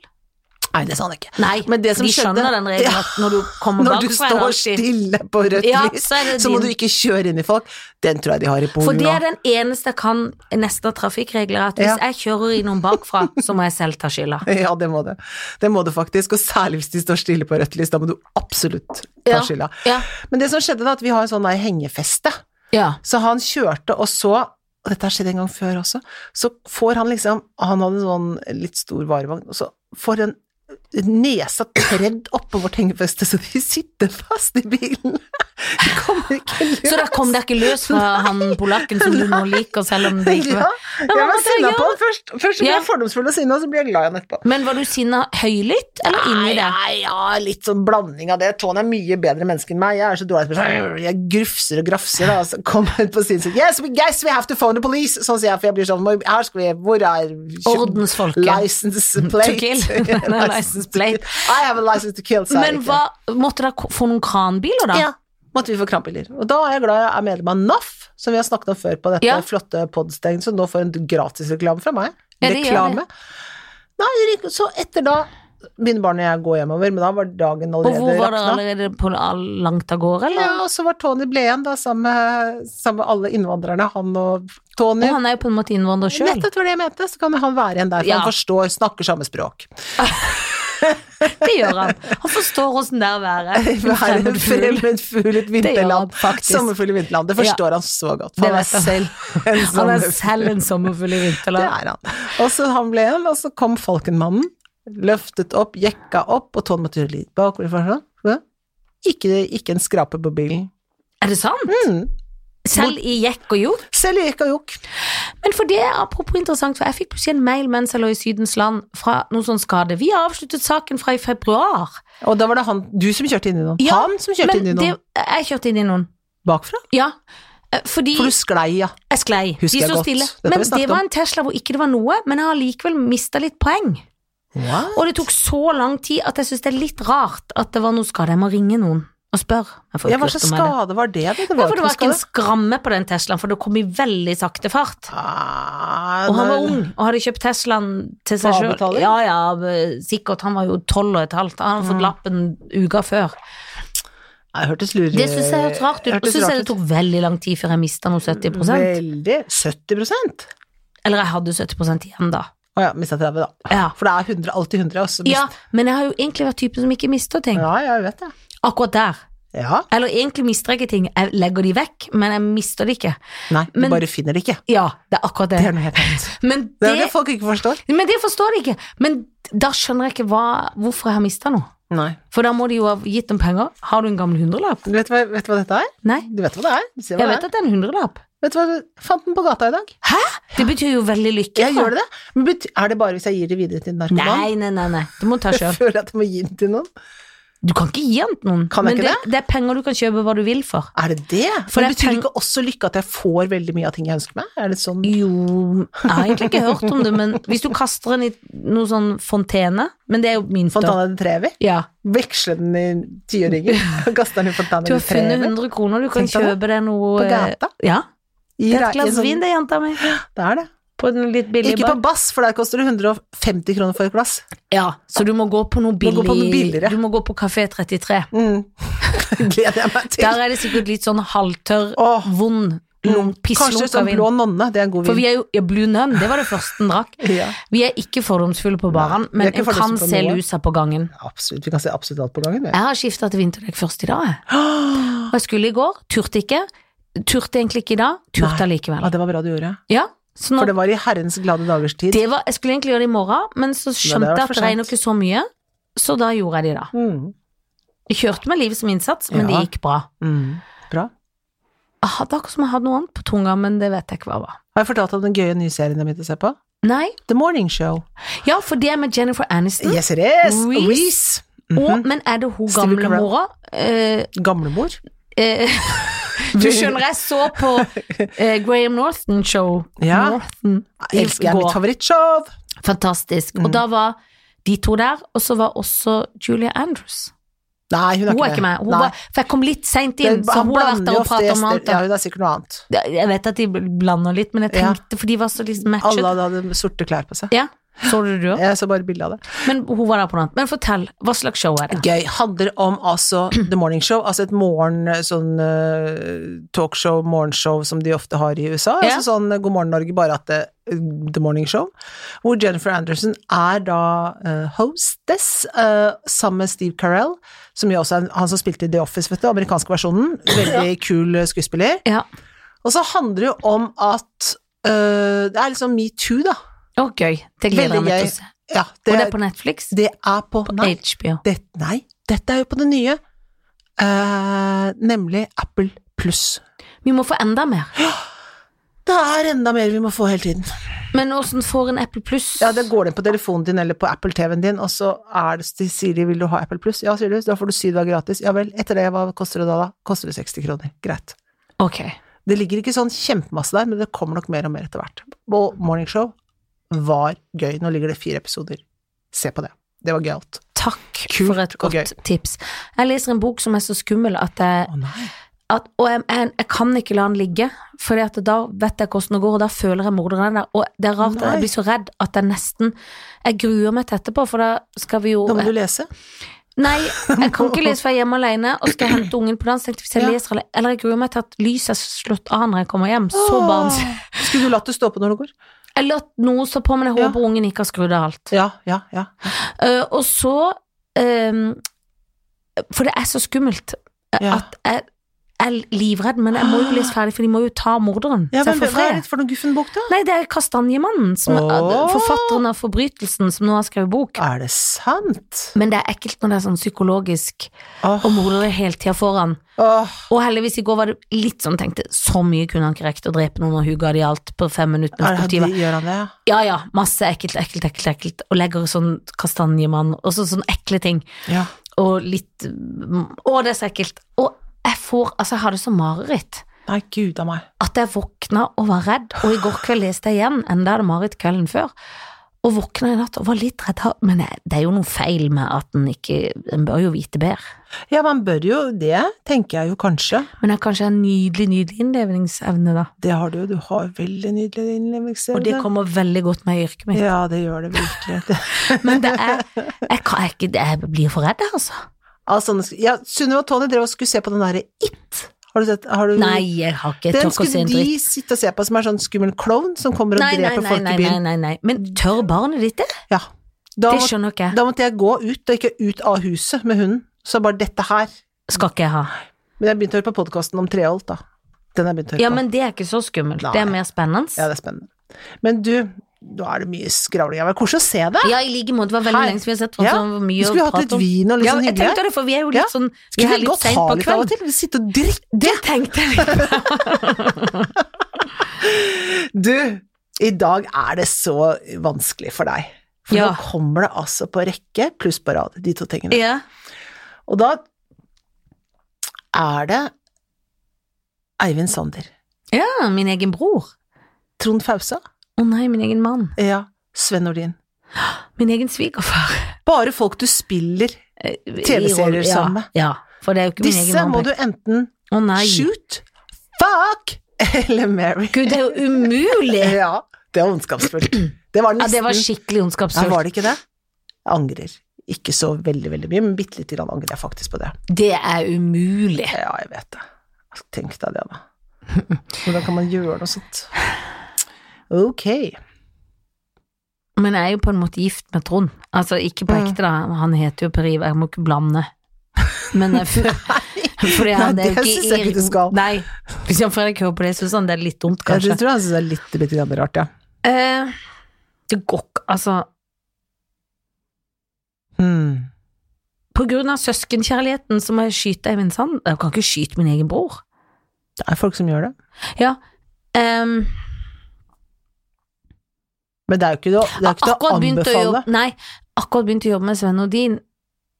Speaker 1: Nei, det sa han ikke.
Speaker 2: Nei,
Speaker 1: Men det som
Speaker 2: de
Speaker 1: skjedde-
Speaker 2: skjønner den regelen
Speaker 1: Ja.
Speaker 2: at når du kommer
Speaker 1: Når du
Speaker 2: bakfra er
Speaker 1: står
Speaker 2: det alltid-
Speaker 1: stille på rødt
Speaker 2: Ja,
Speaker 1: lys,
Speaker 2: så er det
Speaker 1: så må
Speaker 2: din.
Speaker 1: du ikke kjøre inn i folk. Den tror jeg de har i
Speaker 2: For
Speaker 1: Polen
Speaker 2: det
Speaker 1: nå.
Speaker 2: er den eneste jeg kan nesten av trafikkregler, at
Speaker 1: Ja.
Speaker 2: hvis jeg kjører i noen bakfra, så må jeg selv ta skylda.
Speaker 1: Ja, det må det. Det må det faktisk, og særlig hvis de står stille på rødt lys, da må du absolutt ta
Speaker 2: Ja,
Speaker 1: skylda.
Speaker 2: ja.
Speaker 1: Men det som skjedde da, at vi har en sånn der hengefeste,
Speaker 2: Ja.
Speaker 1: så han kjørte, og så, og dette har skjedd en gang før også, så får han liksom, han hadde en sånn litt stor varevogn, og så får den nesa tredd oppå vårt hengefeste, så de sitter fast i bilen. De kommer ikke løs.
Speaker 2: Så da kom det ikke løs fra han polakken som du nå liker, selv om det ikke
Speaker 1: Ja,
Speaker 2: var Men
Speaker 1: jeg
Speaker 2: hva
Speaker 1: var
Speaker 2: måtte jeg
Speaker 1: sinna
Speaker 2: gjøre?
Speaker 1: på han først. Først så ble
Speaker 2: Ja.
Speaker 1: jeg fordomsfull og sinna, og så ble jeg glad i han etterpå.
Speaker 2: Men var du sinna høylytt, eller inni det?
Speaker 1: Nei, nei, ja, litt sånn blanding av det. Tony er mye bedre menneske enn meg. Jeg er så dårlig til å Jeg grufser og grafser, da. Så kommer hun på sin side. Yes, we guess we have to phone the police! Sånn sier jeg, for jeg blir sånn "Hvor- Her skal vi Hvor er
Speaker 2: Ordensfolket.
Speaker 1: License plate.
Speaker 2: To kill. License plate.
Speaker 1: I have a license to kill, sa jeg
Speaker 2: Men
Speaker 1: ikke.
Speaker 2: hva, måtte dere ko- få noen kranbiler, da?
Speaker 1: Ja. Måtte vi få kranbiler. Og da er jeg glad jeg er medlem av NAF, som vi har snakket om før på dette
Speaker 2: Ja.
Speaker 1: flotte podsteget, så nå får en gratis reklame fra meg.
Speaker 2: Ja, det gjør det.
Speaker 1: Reklame. Nei, det gikk- så etter da begynner barnet og jeg å gå hjemover, men da var dagen
Speaker 2: Og hvor
Speaker 1: allerede
Speaker 2: var dere
Speaker 1: rakna.
Speaker 2: allerede på all- langt av gårde, eller?
Speaker 1: Ja, og så var Tony Bleen da sammen med, sammen med alle innvandrerne, han og Tony.
Speaker 2: Og han er jo på en måte innvandrer sjøl.
Speaker 1: Nettopp det var det jeg mente, så kan han være igjen der, for
Speaker 2: Ja.
Speaker 1: han forstår, snakker samme språk.
Speaker 2: Det gjør han. Han forstår åssen det er å være en
Speaker 1: Være en
Speaker 2: fremmed fugl.
Speaker 1: fremmedfugl i et vinterland.
Speaker 2: han faktisk.
Speaker 1: Sommerfugl i vinterland, det forstår han så godt.
Speaker 2: Det
Speaker 1: For han er
Speaker 2: vet han.
Speaker 1: selv en
Speaker 2: Han er
Speaker 1: sommerfugl.
Speaker 2: selv en sommerfugl i
Speaker 1: Det
Speaker 2: vinterland.
Speaker 1: er han. Og så han ble igjen, og så kom Falkenmannen, løftet opp, jekka opp, og Tone måtte gjøre litt bakover for sånn. Hva? Ikke, ikke en skrape på bilen.
Speaker 2: Er det sant?
Speaker 1: Mm.
Speaker 2: Selv i jekk og jokk?
Speaker 1: Selv jekk og jokk.
Speaker 2: Men for det er apropos interessant, for jeg fikk plutselig en mail mens jeg lå i Sydens land fra noe sånn skade. Vi har avsluttet saken fra i februar.
Speaker 1: Og da var det han, du som kjørte inn i noen.
Speaker 2: Ja,
Speaker 1: han som kjørte inn i noen.
Speaker 2: det, jeg kjørte inn i noen.
Speaker 1: Bakfra?
Speaker 2: Ja, eh, fordi
Speaker 1: For du sklei, ja.
Speaker 2: jeg sklei. De
Speaker 1: Husker jeg
Speaker 2: så
Speaker 1: godt.
Speaker 2: stille.
Speaker 1: Dette har
Speaker 2: Men
Speaker 1: vi snakket
Speaker 2: det var en Tesla hvor ikke det var noe, men jeg har likevel mista litt poeng. Og det tok så lang tid at jeg syns det er litt rart at det var noe skade. Jeg må ringe noen og spørre. Jeg får
Speaker 1: Ja,
Speaker 2: ikke
Speaker 1: hva
Speaker 2: hørt
Speaker 1: slags
Speaker 2: om det.
Speaker 1: skade var det? da? Det
Speaker 2: Ja, for det var
Speaker 1: noe
Speaker 2: ikke en
Speaker 1: skade.
Speaker 2: skramme på den Teslaen, for det kom i veldig sakte fart.
Speaker 1: Ah,
Speaker 2: Og han var
Speaker 1: nei.
Speaker 2: ung og hadde kjøpt Teslaen til seg
Speaker 1: På
Speaker 2: sjøl.
Speaker 1: avbetaling?
Speaker 2: Ja, ja, b- sikkert. Han var jo tolv og et halvt. Han hadde
Speaker 1: Mm.
Speaker 2: fått lappen uka før.
Speaker 1: Nei, hørtes lure
Speaker 2: Det syns jeg hørtes rart ut. Og
Speaker 1: hørtes
Speaker 2: syns
Speaker 1: rart
Speaker 2: jeg det
Speaker 1: ut. Mm,
Speaker 2: tok veldig lang tid før jeg mista noe 70
Speaker 1: Veldig. 70
Speaker 2: Eller jeg hadde 70 igjen da.
Speaker 1: Å ja, mista 30, da.
Speaker 2: Ja.
Speaker 1: For det er 100, alltid 100, og så mist-
Speaker 2: ja, men jeg har jo egentlig vært typen som ikke mister ting.
Speaker 1: ja, jeg vet det.
Speaker 2: Akkurat der.
Speaker 1: Ja.
Speaker 2: Eller egentlig mister jeg ikke ting. Jeg legger de vekk, men jeg mister de ikke.
Speaker 1: Nei, du
Speaker 2: Men-
Speaker 1: bare finner det ikke.
Speaker 2: Ja, det er akkurat det.
Speaker 1: Det er noe helt annet.
Speaker 2: Men
Speaker 1: Det
Speaker 2: det,
Speaker 1: er det folk ikke forstår.
Speaker 2: men det forstår de ikke. Men da skjønner jeg ikke hva, hvorfor jeg har mista noe.
Speaker 1: Nei.
Speaker 2: For da må de jo ha gitt dem penger. Har du en gammel hundrelapp?
Speaker 1: Du vet hva, vet du hva dette er?
Speaker 2: Nei.
Speaker 1: Du vet hva det er? Du ser hva
Speaker 2: Jeg
Speaker 1: det
Speaker 2: vet at det er en hundrelapp.
Speaker 1: er. Vet du hva du fant den på gata i dag?
Speaker 2: Hæ? Det betyr jo veldig lykke.
Speaker 1: Jeg gjør det. Men bet- er det bare hvis jeg gir det videre til en narkoman?
Speaker 2: Nei, nei, nei, nei. Du må ta
Speaker 1: Jeg
Speaker 2: sjøl.
Speaker 1: føler at jeg må gi den til noen.
Speaker 2: Du kan ikke gi den til noen.
Speaker 1: Kan jeg
Speaker 2: men
Speaker 1: ikke
Speaker 2: det, det er penger du kan kjøpe hva du vil for.
Speaker 1: Er det det?
Speaker 2: For
Speaker 1: For Men
Speaker 2: jeg
Speaker 1: betyr det
Speaker 2: tenk-
Speaker 1: ikke også lykke at jeg får veldig mye av ting jeg ønsker meg? Er det sånn
Speaker 2: Jo, jeg har egentlig ikke hørt om det, men hvis du kaster den i noe sånn fontene Men det er jo min tur.
Speaker 1: Fontana de Trevi?
Speaker 2: Ja.
Speaker 1: Veksle den i tiåringer og kaste den i Fontana
Speaker 2: Du
Speaker 1: de
Speaker 2: har funnet
Speaker 1: Trevi?
Speaker 2: 100 kroner, du kan
Speaker 1: Tenk deg
Speaker 2: kjøpe deg noe
Speaker 1: På
Speaker 2: eh,
Speaker 1: gata?
Speaker 2: Ja.
Speaker 1: I
Speaker 2: Det er
Speaker 1: re- i
Speaker 2: et glass
Speaker 1: sånn-
Speaker 2: vin, det, jenta mi.
Speaker 1: Det er det.
Speaker 2: På en litt billig
Speaker 1: Ikke på
Speaker 2: bar.
Speaker 1: Bass, for der koster det 150 kroner for et glass.
Speaker 2: Ja, så du må gå på noe
Speaker 1: gå på noe
Speaker 2: billig
Speaker 1: billigere.
Speaker 2: Du må gå på Kafé 33.
Speaker 1: Mm. Gleder jeg meg til.
Speaker 2: Der er det sikkert litt sånn halvtørr,
Speaker 1: Åh.
Speaker 2: vond,
Speaker 1: Mm. Kanskje
Speaker 2: pisslunka
Speaker 1: sånn
Speaker 2: vin.
Speaker 1: blå nonne, det er en god
Speaker 2: For
Speaker 1: vin.
Speaker 2: vi er jo ja, Blue Nun, det var det første den drakk.
Speaker 1: Ja,
Speaker 2: Vi er ikke fordomsfulle på baren,
Speaker 1: vi er
Speaker 2: men
Speaker 1: ikke
Speaker 2: en kan
Speaker 1: fordomsfulle på
Speaker 2: se
Speaker 1: noe.
Speaker 2: lusa på gangen.
Speaker 1: absolutt. Vi kan se absolutt alt på gangen. vi.
Speaker 2: Jeg har skifta til vinterdekk først i dag, jeg. Og jeg skulle i går, turte ikke. Turte egentlig ikke i dag, turte
Speaker 1: Nei.
Speaker 2: allikevel.
Speaker 1: Ja, det var bra du gjorde.
Speaker 2: Ja, så nå,
Speaker 1: For det var i herrens glade dagers tid.
Speaker 2: det var, jeg skulle egentlig gjøre det i morgen, men så skjønte
Speaker 1: vært
Speaker 2: jeg at
Speaker 1: for
Speaker 2: det regner
Speaker 1: sent.
Speaker 2: ikke så mye, så da gjorde jeg det i dag.
Speaker 1: Mm.
Speaker 2: Jeg kjørte med livet som innsats, men
Speaker 1: Ja.
Speaker 2: det gikk bra.
Speaker 1: Mm. Bra.
Speaker 2: Jeg hadde akkurat som jeg hadde noe annet på tunga, men det vet jeg ikke hva det var.
Speaker 1: Har jeg fortalt om den gøye nye serien jeg begynte å se på?
Speaker 2: Nei.
Speaker 1: The Morning Show.
Speaker 2: Ja, for det er med Jennifer Aniston.
Speaker 1: Yes, it is!
Speaker 2: Reese.
Speaker 1: Reese. Mhm.
Speaker 2: Og, men er det hun
Speaker 1: Steve
Speaker 2: gamle
Speaker 1: Carell.
Speaker 2: mora? Eh,
Speaker 1: Gamlemor.
Speaker 2: eh, du skjønner, jeg så på eh, Graham Norton show.
Speaker 1: Ja.
Speaker 2: Norton.
Speaker 1: Jeg elsker jeg
Speaker 2: Gå.
Speaker 1: mitt favorittshow! Mm.
Speaker 2: Fantastisk. Og da var de to der. Og så var også Julia Andrews.
Speaker 1: Nei, hun er
Speaker 2: Hun
Speaker 1: ikke,
Speaker 2: er ikke med. Hun
Speaker 1: Nei.
Speaker 2: var, for jeg kom litt seint inn,
Speaker 1: Det-
Speaker 2: så
Speaker 1: han
Speaker 2: hun har vært
Speaker 1: blander
Speaker 2: der
Speaker 1: jo
Speaker 2: og
Speaker 1: ofte
Speaker 2: pratet om
Speaker 1: gjester.
Speaker 2: noe annet.
Speaker 1: Ja, det er sikkert noe annet.
Speaker 2: Jeg vet at de blander litt, men jeg
Speaker 1: Ja.
Speaker 2: tenkte, for de var så liksom matchet.
Speaker 1: Alle hadde sorte klær på seg.
Speaker 2: Ja, så du det du òg?
Speaker 1: Jeg så bare bilde av det.
Speaker 2: Men hun var der på noe annet. Men fortell, hva slags show er det?
Speaker 1: Gøy. Handler om altså The Morning Show, altså et morgen sånn eh, talkshow, morgenshow som de ofte har i USA.
Speaker 2: Ja.
Speaker 1: Altså sånn God morgen Norge, bare at det eh, The Morning Show. Hvor Jennifer Anderson er da eh, hostess eh, sammen med Steve Carell, som jo også er han som spilte i The Office, vet du, amerikanske versjonen. Veldig kul eh, skuespiller.
Speaker 2: Ja,
Speaker 1: Og så handler det jo om at eh, Det er liksom metoo, da.
Speaker 2: Å, gøy. Det
Speaker 1: Veldig
Speaker 2: gleder jeg meg
Speaker 1: gøy.
Speaker 2: til å se.
Speaker 1: Ja,
Speaker 2: Og
Speaker 1: det,
Speaker 2: det er på Netflix?
Speaker 1: det er på,
Speaker 2: På
Speaker 1: nei,
Speaker 2: HBO.
Speaker 1: det, nei, dette er jo på det nye. Eh, nemlig Apple Pluss.
Speaker 2: Vi må få enda mer.
Speaker 1: Det er enda mer vi må få hele tiden.
Speaker 2: Men åssen får en Apple Pluss?
Speaker 1: Ja, det går inn på telefonen din eller på Apple TV-en din, og så er det, de sier de vil du ha Apple Pluss. Ja, sier du, da får du syv dager gratis. Ja vel, etter det, hva koster det da? da? Koster det 60 kroner. Greit.
Speaker 2: Ok.
Speaker 1: Det ligger ikke sånn kjempemasse der, men det kommer nok mer og mer etter hvert. Og Morningshow var gøy. Nå ligger det fire episoder. Se på det. Det var gøyalt.
Speaker 2: Takk
Speaker 1: Kult
Speaker 2: for et
Speaker 1: og
Speaker 2: godt tips. Jeg leser en bok som er så skummel at jeg
Speaker 1: Å nei.
Speaker 2: at, Og jeg, jeg, jeg kan ikke la den ligge, for da vet jeg hvordan det går, og da føler jeg morderen der. Og det er rart at
Speaker 1: Nei.
Speaker 2: jeg blir så redd at jeg nesten Jeg gruer meg til etterpå, for da skal vi jo
Speaker 1: Da må du lese.
Speaker 2: Nei, jeg kan ikke lese, for jeg er hjemme alene og skal hente ungen på dans. Tenkte, hvis jeg
Speaker 1: Ja.
Speaker 2: leser, eller- eller jeg gruer meg til at lyset er slått av når jeg kommer hjem. Så barns...
Speaker 1: Åh. Skulle du latt det stå på når det går?
Speaker 2: Eller at noe står på, men jeg
Speaker 1: Ja.
Speaker 2: håper ungen ikke har skrudd av alt.
Speaker 1: Ja, ja, ja.
Speaker 2: Eh, og så ehm, For det er så skummelt eh,
Speaker 1: Ja.
Speaker 2: at jeg, jeg er livredd, men jeg må jo lese ferdig, for de må jo ta morderen.
Speaker 1: ja
Speaker 2: så jeg
Speaker 1: men,
Speaker 2: får
Speaker 1: hva er
Speaker 2: fred.
Speaker 1: det for noen guffenbok, da?
Speaker 2: Nei, det er Kastanjemannen, som er
Speaker 1: Åh.
Speaker 2: forfatteren av Forbrytelsen, som nå har skrevet bok.
Speaker 1: Er det sant?
Speaker 2: Men det er ekkelt når det er sånn psykologisk,
Speaker 1: Åh,
Speaker 2: og mordere hele tida foran.
Speaker 1: åh.
Speaker 2: Og heldigvis i går var det litt sånn, tenkte så mye kunne han ikke rekt å drepe noen, og hun ga de alt på fem minutter
Speaker 1: Er
Speaker 2: mens
Speaker 1: det,
Speaker 2: politiet var
Speaker 1: de gjør han det, ja?
Speaker 2: Ja ja, masse ekkelt, ekkelt, ekkelt, ekkelt, og legger sånn kastanjemann, og så sånn ekle ting.
Speaker 1: Ja.
Speaker 2: og litt mm, Å, det er så ekkelt. Og jeg får Altså, jeg har det som mareritt.
Speaker 1: Nei, gud a meg.
Speaker 2: At jeg våkna og var redd, og i går kveld leste jeg igjen, enda jeg hadde mareritt kvelden før. Og våkna i natt og var litt redd, men jeg- det er jo noe feil med at en ikke En bør jo vite bedre.
Speaker 1: Ja, man bør jo det, tenker jeg jo kanskje.
Speaker 2: Men jeg har kanskje en nydelig, nydelig innlevningsevne, da.
Speaker 1: Det har du jo, du har veldig nydelig innlevelse.
Speaker 2: Og det kommer veldig godt med i yrket mitt.
Speaker 1: Ja, det gjør det virkelig. Det-
Speaker 2: Men det er Jeg, kan, jeg, er ikke- jeg blir for redd, jeg, altså.
Speaker 1: Altså, nå skal- ja, Sunniva og Tony drev og skulle se på den derre It. Har du sett? Har du,
Speaker 2: Nei, jeg har ikke
Speaker 1: den
Speaker 2: jeg tok å se
Speaker 1: skulle
Speaker 2: en
Speaker 1: de
Speaker 2: dritt.
Speaker 1: sitte og se på, som er sånn skummel klovn som kommer og
Speaker 2: Nei, nei,
Speaker 1: dreper
Speaker 2: nei,
Speaker 1: folk
Speaker 2: nei,
Speaker 1: i
Speaker 2: nei,
Speaker 1: byen.
Speaker 2: nei, nei. Men tør barnet ditt det?
Speaker 1: Ja. Da,
Speaker 2: Det
Speaker 1: må,
Speaker 2: skjønner ikke jeg.
Speaker 1: da måtte jeg gå ut, og ikke ut av huset med hunden. Så bare dette her.
Speaker 2: Skal ikke jeg ha.
Speaker 1: Men jeg begynte å høre på podkasten om Treholt, da. Den har jeg begynt å høre
Speaker 2: Ja,
Speaker 1: på.
Speaker 2: men det er ikke så skummelt.
Speaker 1: Nei.
Speaker 2: Det er mer spennende.
Speaker 1: Ja,
Speaker 2: Ja,
Speaker 1: det er spennende. Men du, nå er det mye skravling. Det var koselig å se deg.
Speaker 2: i like måte. Det var veldig
Speaker 1: Hei.
Speaker 2: lenge siden vi har sett hverandre.
Speaker 1: Ja,
Speaker 2: så det var
Speaker 1: Vi
Speaker 2: Mye
Speaker 1: skulle
Speaker 2: å
Speaker 1: hatt litt
Speaker 2: prate om.
Speaker 1: vin og litt
Speaker 2: Ja,
Speaker 1: sånn
Speaker 2: jeg
Speaker 1: hyggelig.
Speaker 2: tenkte det, for vi er jo litt
Speaker 1: Ja.
Speaker 2: sånn Vi
Speaker 1: Skulle vi
Speaker 2: er litt
Speaker 1: godt
Speaker 2: sent
Speaker 1: ha
Speaker 2: på
Speaker 1: litt av og
Speaker 2: kvelden.
Speaker 1: til? Vi sitter og drikker.
Speaker 2: Det tenkte jeg.
Speaker 1: Du, i dag er det så vanskelig for deg. For
Speaker 2: Ja.
Speaker 1: nå kommer det altså på rekke pluss på rad, de to tingene.
Speaker 2: Ja.
Speaker 1: Og da er det Eivind Sander.
Speaker 2: ja, min egen bror.
Speaker 1: Trond Fausa.
Speaker 2: Å nei, min egen mann.
Speaker 1: Ja. Sven Nordin.
Speaker 2: Min egen svigerfar.
Speaker 1: Bare folk du spiller
Speaker 2: Eh, i
Speaker 1: TV-serier
Speaker 2: roll- ja,
Speaker 1: sammen med.
Speaker 2: Ja, for det er jo ikke min
Speaker 1: Disse
Speaker 2: egen
Speaker 1: må
Speaker 2: mann.
Speaker 1: du enten
Speaker 2: Å nei.
Speaker 1: shoot, fuck eller marry.
Speaker 2: Gud, det er jo umulig!
Speaker 1: Ja, det var ondskapsfullt. Det var
Speaker 2: Ja,
Speaker 1: nesten
Speaker 2: det var
Speaker 1: Ja,
Speaker 2: skikkelig
Speaker 1: var
Speaker 2: ondskapsfullt.
Speaker 1: det ikke det? Jeg angrer. Ikke så veldig, veldig mye, men bitte lite grann angrer jeg faktisk på det.
Speaker 2: Det er umulig.
Speaker 1: Ja, jeg vet det. Tenk deg det, da. Hvordan kan man gjøre noe sånt? Ok.
Speaker 2: Men jeg er jo på en måte gift med Trond. Altså ikke på
Speaker 1: Mm.
Speaker 2: ekte, da. Han heter jo Per Ivar, jeg må ikke blande. Men eh, jeg fu- fordi han
Speaker 1: Nei,
Speaker 2: er jo
Speaker 1: det synes jeg ikke du skal.
Speaker 2: Nei. Hvis Jan Fredrik hører på det, syns han det er litt
Speaker 1: Jeg
Speaker 2: dumt, kanskje.
Speaker 1: tror han syns det er litt bitte grann rart, ja.
Speaker 2: Eh, det går ikke Altså,
Speaker 1: Hmm.
Speaker 2: på grunn av søskenkjærligheten så må jeg skyte Eivind Sand. Jeg kan ikke skyte min egen bror.
Speaker 1: Det er folk som gjør det.
Speaker 2: Ja. ehm,
Speaker 1: Men det er jo ikke det, det, er ikke det å
Speaker 2: akkurat begynt å
Speaker 1: anbefale.
Speaker 2: jobbe Nei, akkurat begynte å jobbe med Sven Odin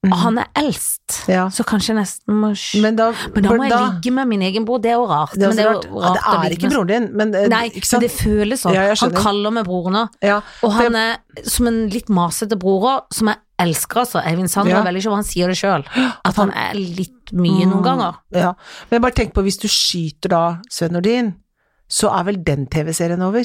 Speaker 2: Og han er eldst,
Speaker 1: Mhm. Ja.
Speaker 2: så kanskje jeg nesten må sj-
Speaker 1: Men da,
Speaker 2: Men da må jeg
Speaker 1: da-
Speaker 2: ligge med min egen bror, det er jo rart.
Speaker 1: Det er,
Speaker 2: men
Speaker 1: også
Speaker 2: jo
Speaker 1: rart. Ja, det
Speaker 2: å
Speaker 1: er
Speaker 2: ligge
Speaker 1: ikke
Speaker 2: med-
Speaker 1: broren din, men eh,
Speaker 2: Nei,
Speaker 1: ikke
Speaker 2: men
Speaker 1: sant?
Speaker 2: det føles sånn.
Speaker 1: Ja, jeg
Speaker 2: han
Speaker 1: skjønner.
Speaker 2: kaller meg bror nå.
Speaker 1: Ja,
Speaker 2: Og han er som en litt masete bror òg, som jeg elsker, altså. Eivind Sander
Speaker 1: Ja.
Speaker 2: er veldig sjov, han sier det sjøl. At han er litt mye
Speaker 1: Mm.
Speaker 2: noen ganger.
Speaker 1: ja. Men bare tenk på, hvis du skyter da Sven Nordin, så er vel den TV-serien over?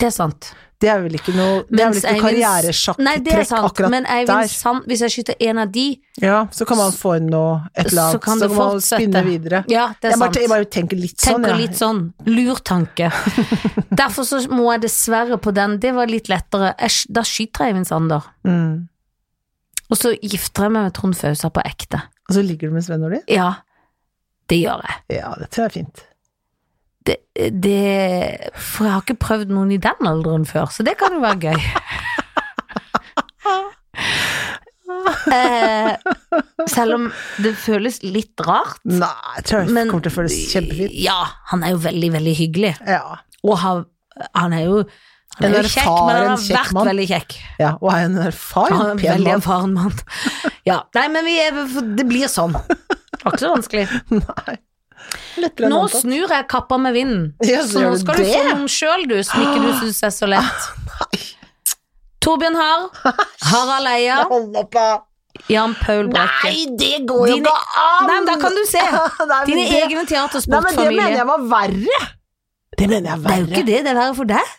Speaker 2: Det er sant.
Speaker 1: Det er vel ikke noe, det er vel
Speaker 2: Mens
Speaker 1: ikke noe
Speaker 2: Eivinds- Nei, det er
Speaker 1: karrieresjakktrekk
Speaker 2: sant,
Speaker 1: akkurat
Speaker 2: men Eivind
Speaker 1: der.
Speaker 2: Sand, hvis jeg skyter en av de,
Speaker 1: Ja, så kan man få inn noe, et eller
Speaker 2: så
Speaker 1: annet,
Speaker 2: kan det
Speaker 1: man spinne
Speaker 2: fortsette.
Speaker 1: videre.
Speaker 2: Ja, det er
Speaker 1: jeg, bare,
Speaker 2: sant.
Speaker 1: jeg bare tenker litt sånn,
Speaker 2: Tenker
Speaker 1: ja.
Speaker 2: litt sånn lurtanke. Derfor så må jeg dessverre på den, det var litt lettere. Jeg, sk- da skyter jeg Eivind Sander.
Speaker 1: Mm.
Speaker 2: Og så gifter jeg meg med Trond Fausa på ekte.
Speaker 1: Og så ligger du med Sven Nordin?
Speaker 2: Ja, det gjør jeg.
Speaker 1: Ja, det tror jeg er fint.
Speaker 2: Det, det For jeg har ikke prøvd noen i den alderen før, så det kan jo være gøy. eh, selv om det føles litt rart.
Speaker 1: Nei, jeg tror det
Speaker 2: Men
Speaker 1: kommer til å føles kjempefint.
Speaker 2: Ja, han er jo veldig, veldig hyggelig.
Speaker 1: Ja,
Speaker 2: Og han, han er jo han
Speaker 1: En
Speaker 2: er jo kjekk,
Speaker 1: erfaren,
Speaker 2: men han har
Speaker 1: kjekk
Speaker 2: vært
Speaker 1: mann.
Speaker 2: veldig kjekk.
Speaker 1: ja. og er en
Speaker 2: Han er
Speaker 1: erfaren,
Speaker 2: en
Speaker 1: pen
Speaker 2: veldig
Speaker 1: mann.
Speaker 2: erfaren mann. Ja, nei, men vi er, det blir sånn. Det var ikke så vanskelig.
Speaker 1: Nei. Lettere enn
Speaker 2: Nå
Speaker 1: antatt.
Speaker 2: snur jeg kappa med vinden,
Speaker 1: Ja, så
Speaker 2: så
Speaker 1: gjør
Speaker 2: nå
Speaker 1: du
Speaker 2: skal du
Speaker 1: det.
Speaker 2: få noen sjøl, du, som ikke du syns er så lett.
Speaker 1: Nei,
Speaker 2: Torbjørn Harr, Harald Eia,
Speaker 1: hold opp, da!
Speaker 2: Jan Paul Brekke.
Speaker 1: det går
Speaker 2: Dine-
Speaker 1: an!
Speaker 2: Nei, men da kan du se.
Speaker 1: Nei, men det-
Speaker 2: Dine egne
Speaker 1: Nei, men det mener
Speaker 2: teatersportfamilie.
Speaker 1: jeg var verre! Det mener jeg er
Speaker 2: Det er jo
Speaker 1: verre.
Speaker 2: ikke det, det er verre for deg.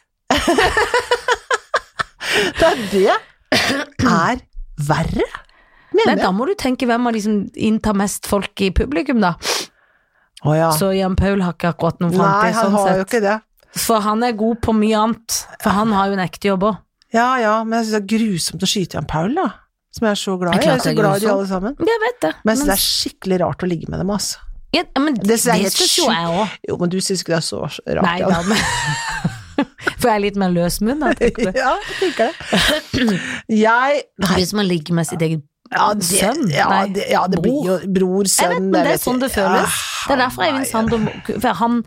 Speaker 1: Det er det er verre,
Speaker 2: Men
Speaker 1: mener jeg.
Speaker 2: da må du tenke hvem av de som inntar mest folk i publikum, da.
Speaker 1: Å ja.
Speaker 2: Så Jan Paul har ikke akkurat noen
Speaker 1: Nei,
Speaker 2: framtid,
Speaker 1: han
Speaker 2: sånn
Speaker 1: har jo
Speaker 2: sett.
Speaker 1: ikke det.
Speaker 2: For han er god på mye annet. For han har jo en ekte jobb òg.
Speaker 1: Ja ja, men jeg syns det er grusomt å skyte Jan Paul, da. Som jeg er så glad
Speaker 2: Det
Speaker 1: i.
Speaker 2: er
Speaker 1: Jeg
Speaker 2: klart
Speaker 1: er så
Speaker 2: det er
Speaker 1: glad i de
Speaker 2: grusomt.
Speaker 1: alle sammen.
Speaker 2: Jeg vet det.
Speaker 1: Men jeg syns
Speaker 2: men,
Speaker 1: det er skikkelig rart å ligge med dem, altså.
Speaker 2: ja, men
Speaker 1: Det
Speaker 2: det
Speaker 1: synes jeg er helt
Speaker 2: syns jo
Speaker 1: sjukt. altså.
Speaker 2: jeg òg.
Speaker 1: Jo, men du syns ikke det er så rart?
Speaker 2: Nei
Speaker 1: ja.
Speaker 2: da, men For jeg er litt mer løsmunna, tenker du.
Speaker 1: Ja, jeg tenker det. Jeg
Speaker 2: Hvis man ligger med sitt eget
Speaker 1: ja, det,
Speaker 2: sønn,
Speaker 1: ja,
Speaker 2: nei,
Speaker 1: det, ja, det blir jo bror,
Speaker 2: Jeg vet,
Speaker 1: sønn
Speaker 2: men det er
Speaker 1: jeg
Speaker 2: sånn det
Speaker 1: ikke.
Speaker 2: føles.
Speaker 1: Ja,
Speaker 2: Det er sånn derfor Eivind
Speaker 1: Ah, nei,
Speaker 2: Sander For han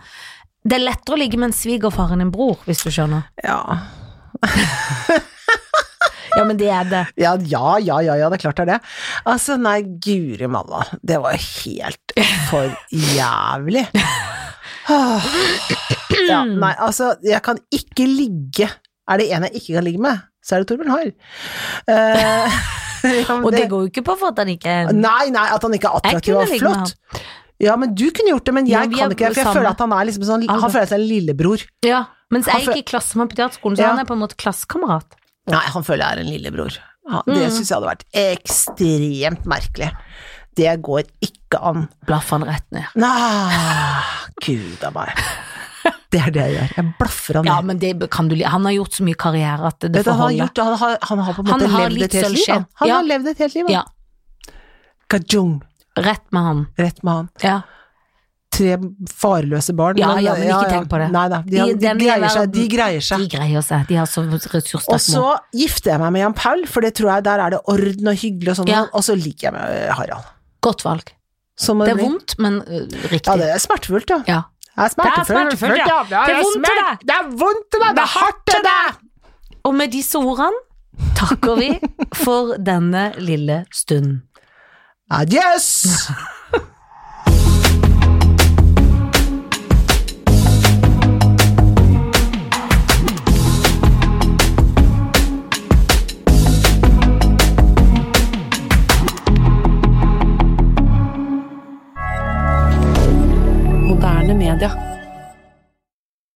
Speaker 2: Det er lettere å ligge med en svigerfar enn en bror, hvis du skjønner.
Speaker 1: Ja.
Speaker 2: Ja, men det er det.
Speaker 1: Ja, ja, ja, ja, ja, det er klart det er det. Altså, nei, guri malla, det var jo helt for jævlig. Åh. Ja, nei, altså, jeg kan ikke ligge Er det en jeg ikke kan ligge med, så er det Torbjørn Harr. Eh, ja, men
Speaker 2: Og det går jo ikke på for at han ikke er
Speaker 1: Nei, nei, at han ikke er
Speaker 2: Jeg
Speaker 1: attraktiv
Speaker 2: kunne
Speaker 1: og
Speaker 2: ligge med
Speaker 1: flott. Ja, men du kunne gjort det, men
Speaker 2: Ja,
Speaker 1: jeg
Speaker 2: vi
Speaker 1: kan
Speaker 2: er
Speaker 1: ikke det, for jeg
Speaker 2: samme
Speaker 1: føler at han er liksom sånn Han
Speaker 2: alder.
Speaker 1: føler seg en lillebror.
Speaker 2: Ja, mens
Speaker 1: Han
Speaker 2: jeg gikk i klasse med han på teaterskolen, så
Speaker 1: Ja.
Speaker 2: han er på en måte klassekamerat.
Speaker 1: Nei, han føler jeg er en lillebror. Ja, Det
Speaker 2: Mm.
Speaker 1: syns jeg hadde vært ekstremt merkelig. Det går ikke an.
Speaker 2: Blaffer han rett ned.
Speaker 1: Nei, gud a meg. Det er det jeg gjør. Jeg blaffer han
Speaker 2: Ja,
Speaker 1: ned.
Speaker 2: men det kan du li- Han har gjort så mye karriere at det
Speaker 1: Vet du,
Speaker 2: får
Speaker 1: han, har
Speaker 2: holde.
Speaker 1: gjort, han, har, han har på en
Speaker 2: Han
Speaker 1: måte
Speaker 2: har
Speaker 1: levd
Speaker 2: litt
Speaker 1: et helt liv,
Speaker 2: sølvskjell.
Speaker 1: han. Han
Speaker 2: Ja.
Speaker 1: har levd et helt liv, han.
Speaker 2: Ja,
Speaker 1: Kajung,
Speaker 2: rett med han.
Speaker 1: rett med han.
Speaker 2: Ja.
Speaker 1: Tre farløse barn.
Speaker 2: Ja, ja, men ikke tenk på det.
Speaker 1: Nei da, de,
Speaker 2: I
Speaker 1: de,
Speaker 2: den
Speaker 1: greier
Speaker 2: verden-
Speaker 1: seg. De greier seg.
Speaker 2: De greier seg, de har så
Speaker 1: Og
Speaker 2: ressurssterke
Speaker 1: så gifter jeg meg med Jan Paul, for det tror jeg der er det orden og hyggelig og sånn,
Speaker 2: Ja.
Speaker 1: og så liker jeg meg med Harald.
Speaker 2: Godt valg.
Speaker 1: Som
Speaker 2: Det er
Speaker 1: blir-
Speaker 2: vondt, men øh, riktig.
Speaker 1: Ja, det er smertefullt, ja.
Speaker 2: Ja.
Speaker 1: Det er
Speaker 2: smertefullt, ja. Det er vondt til deg.
Speaker 1: Det er vondt til deg! Det er hardt til deg!
Speaker 2: Og med disse ordene takker vi for denne lille stunden.
Speaker 1: Adjøs!
Speaker 3: Moderne media.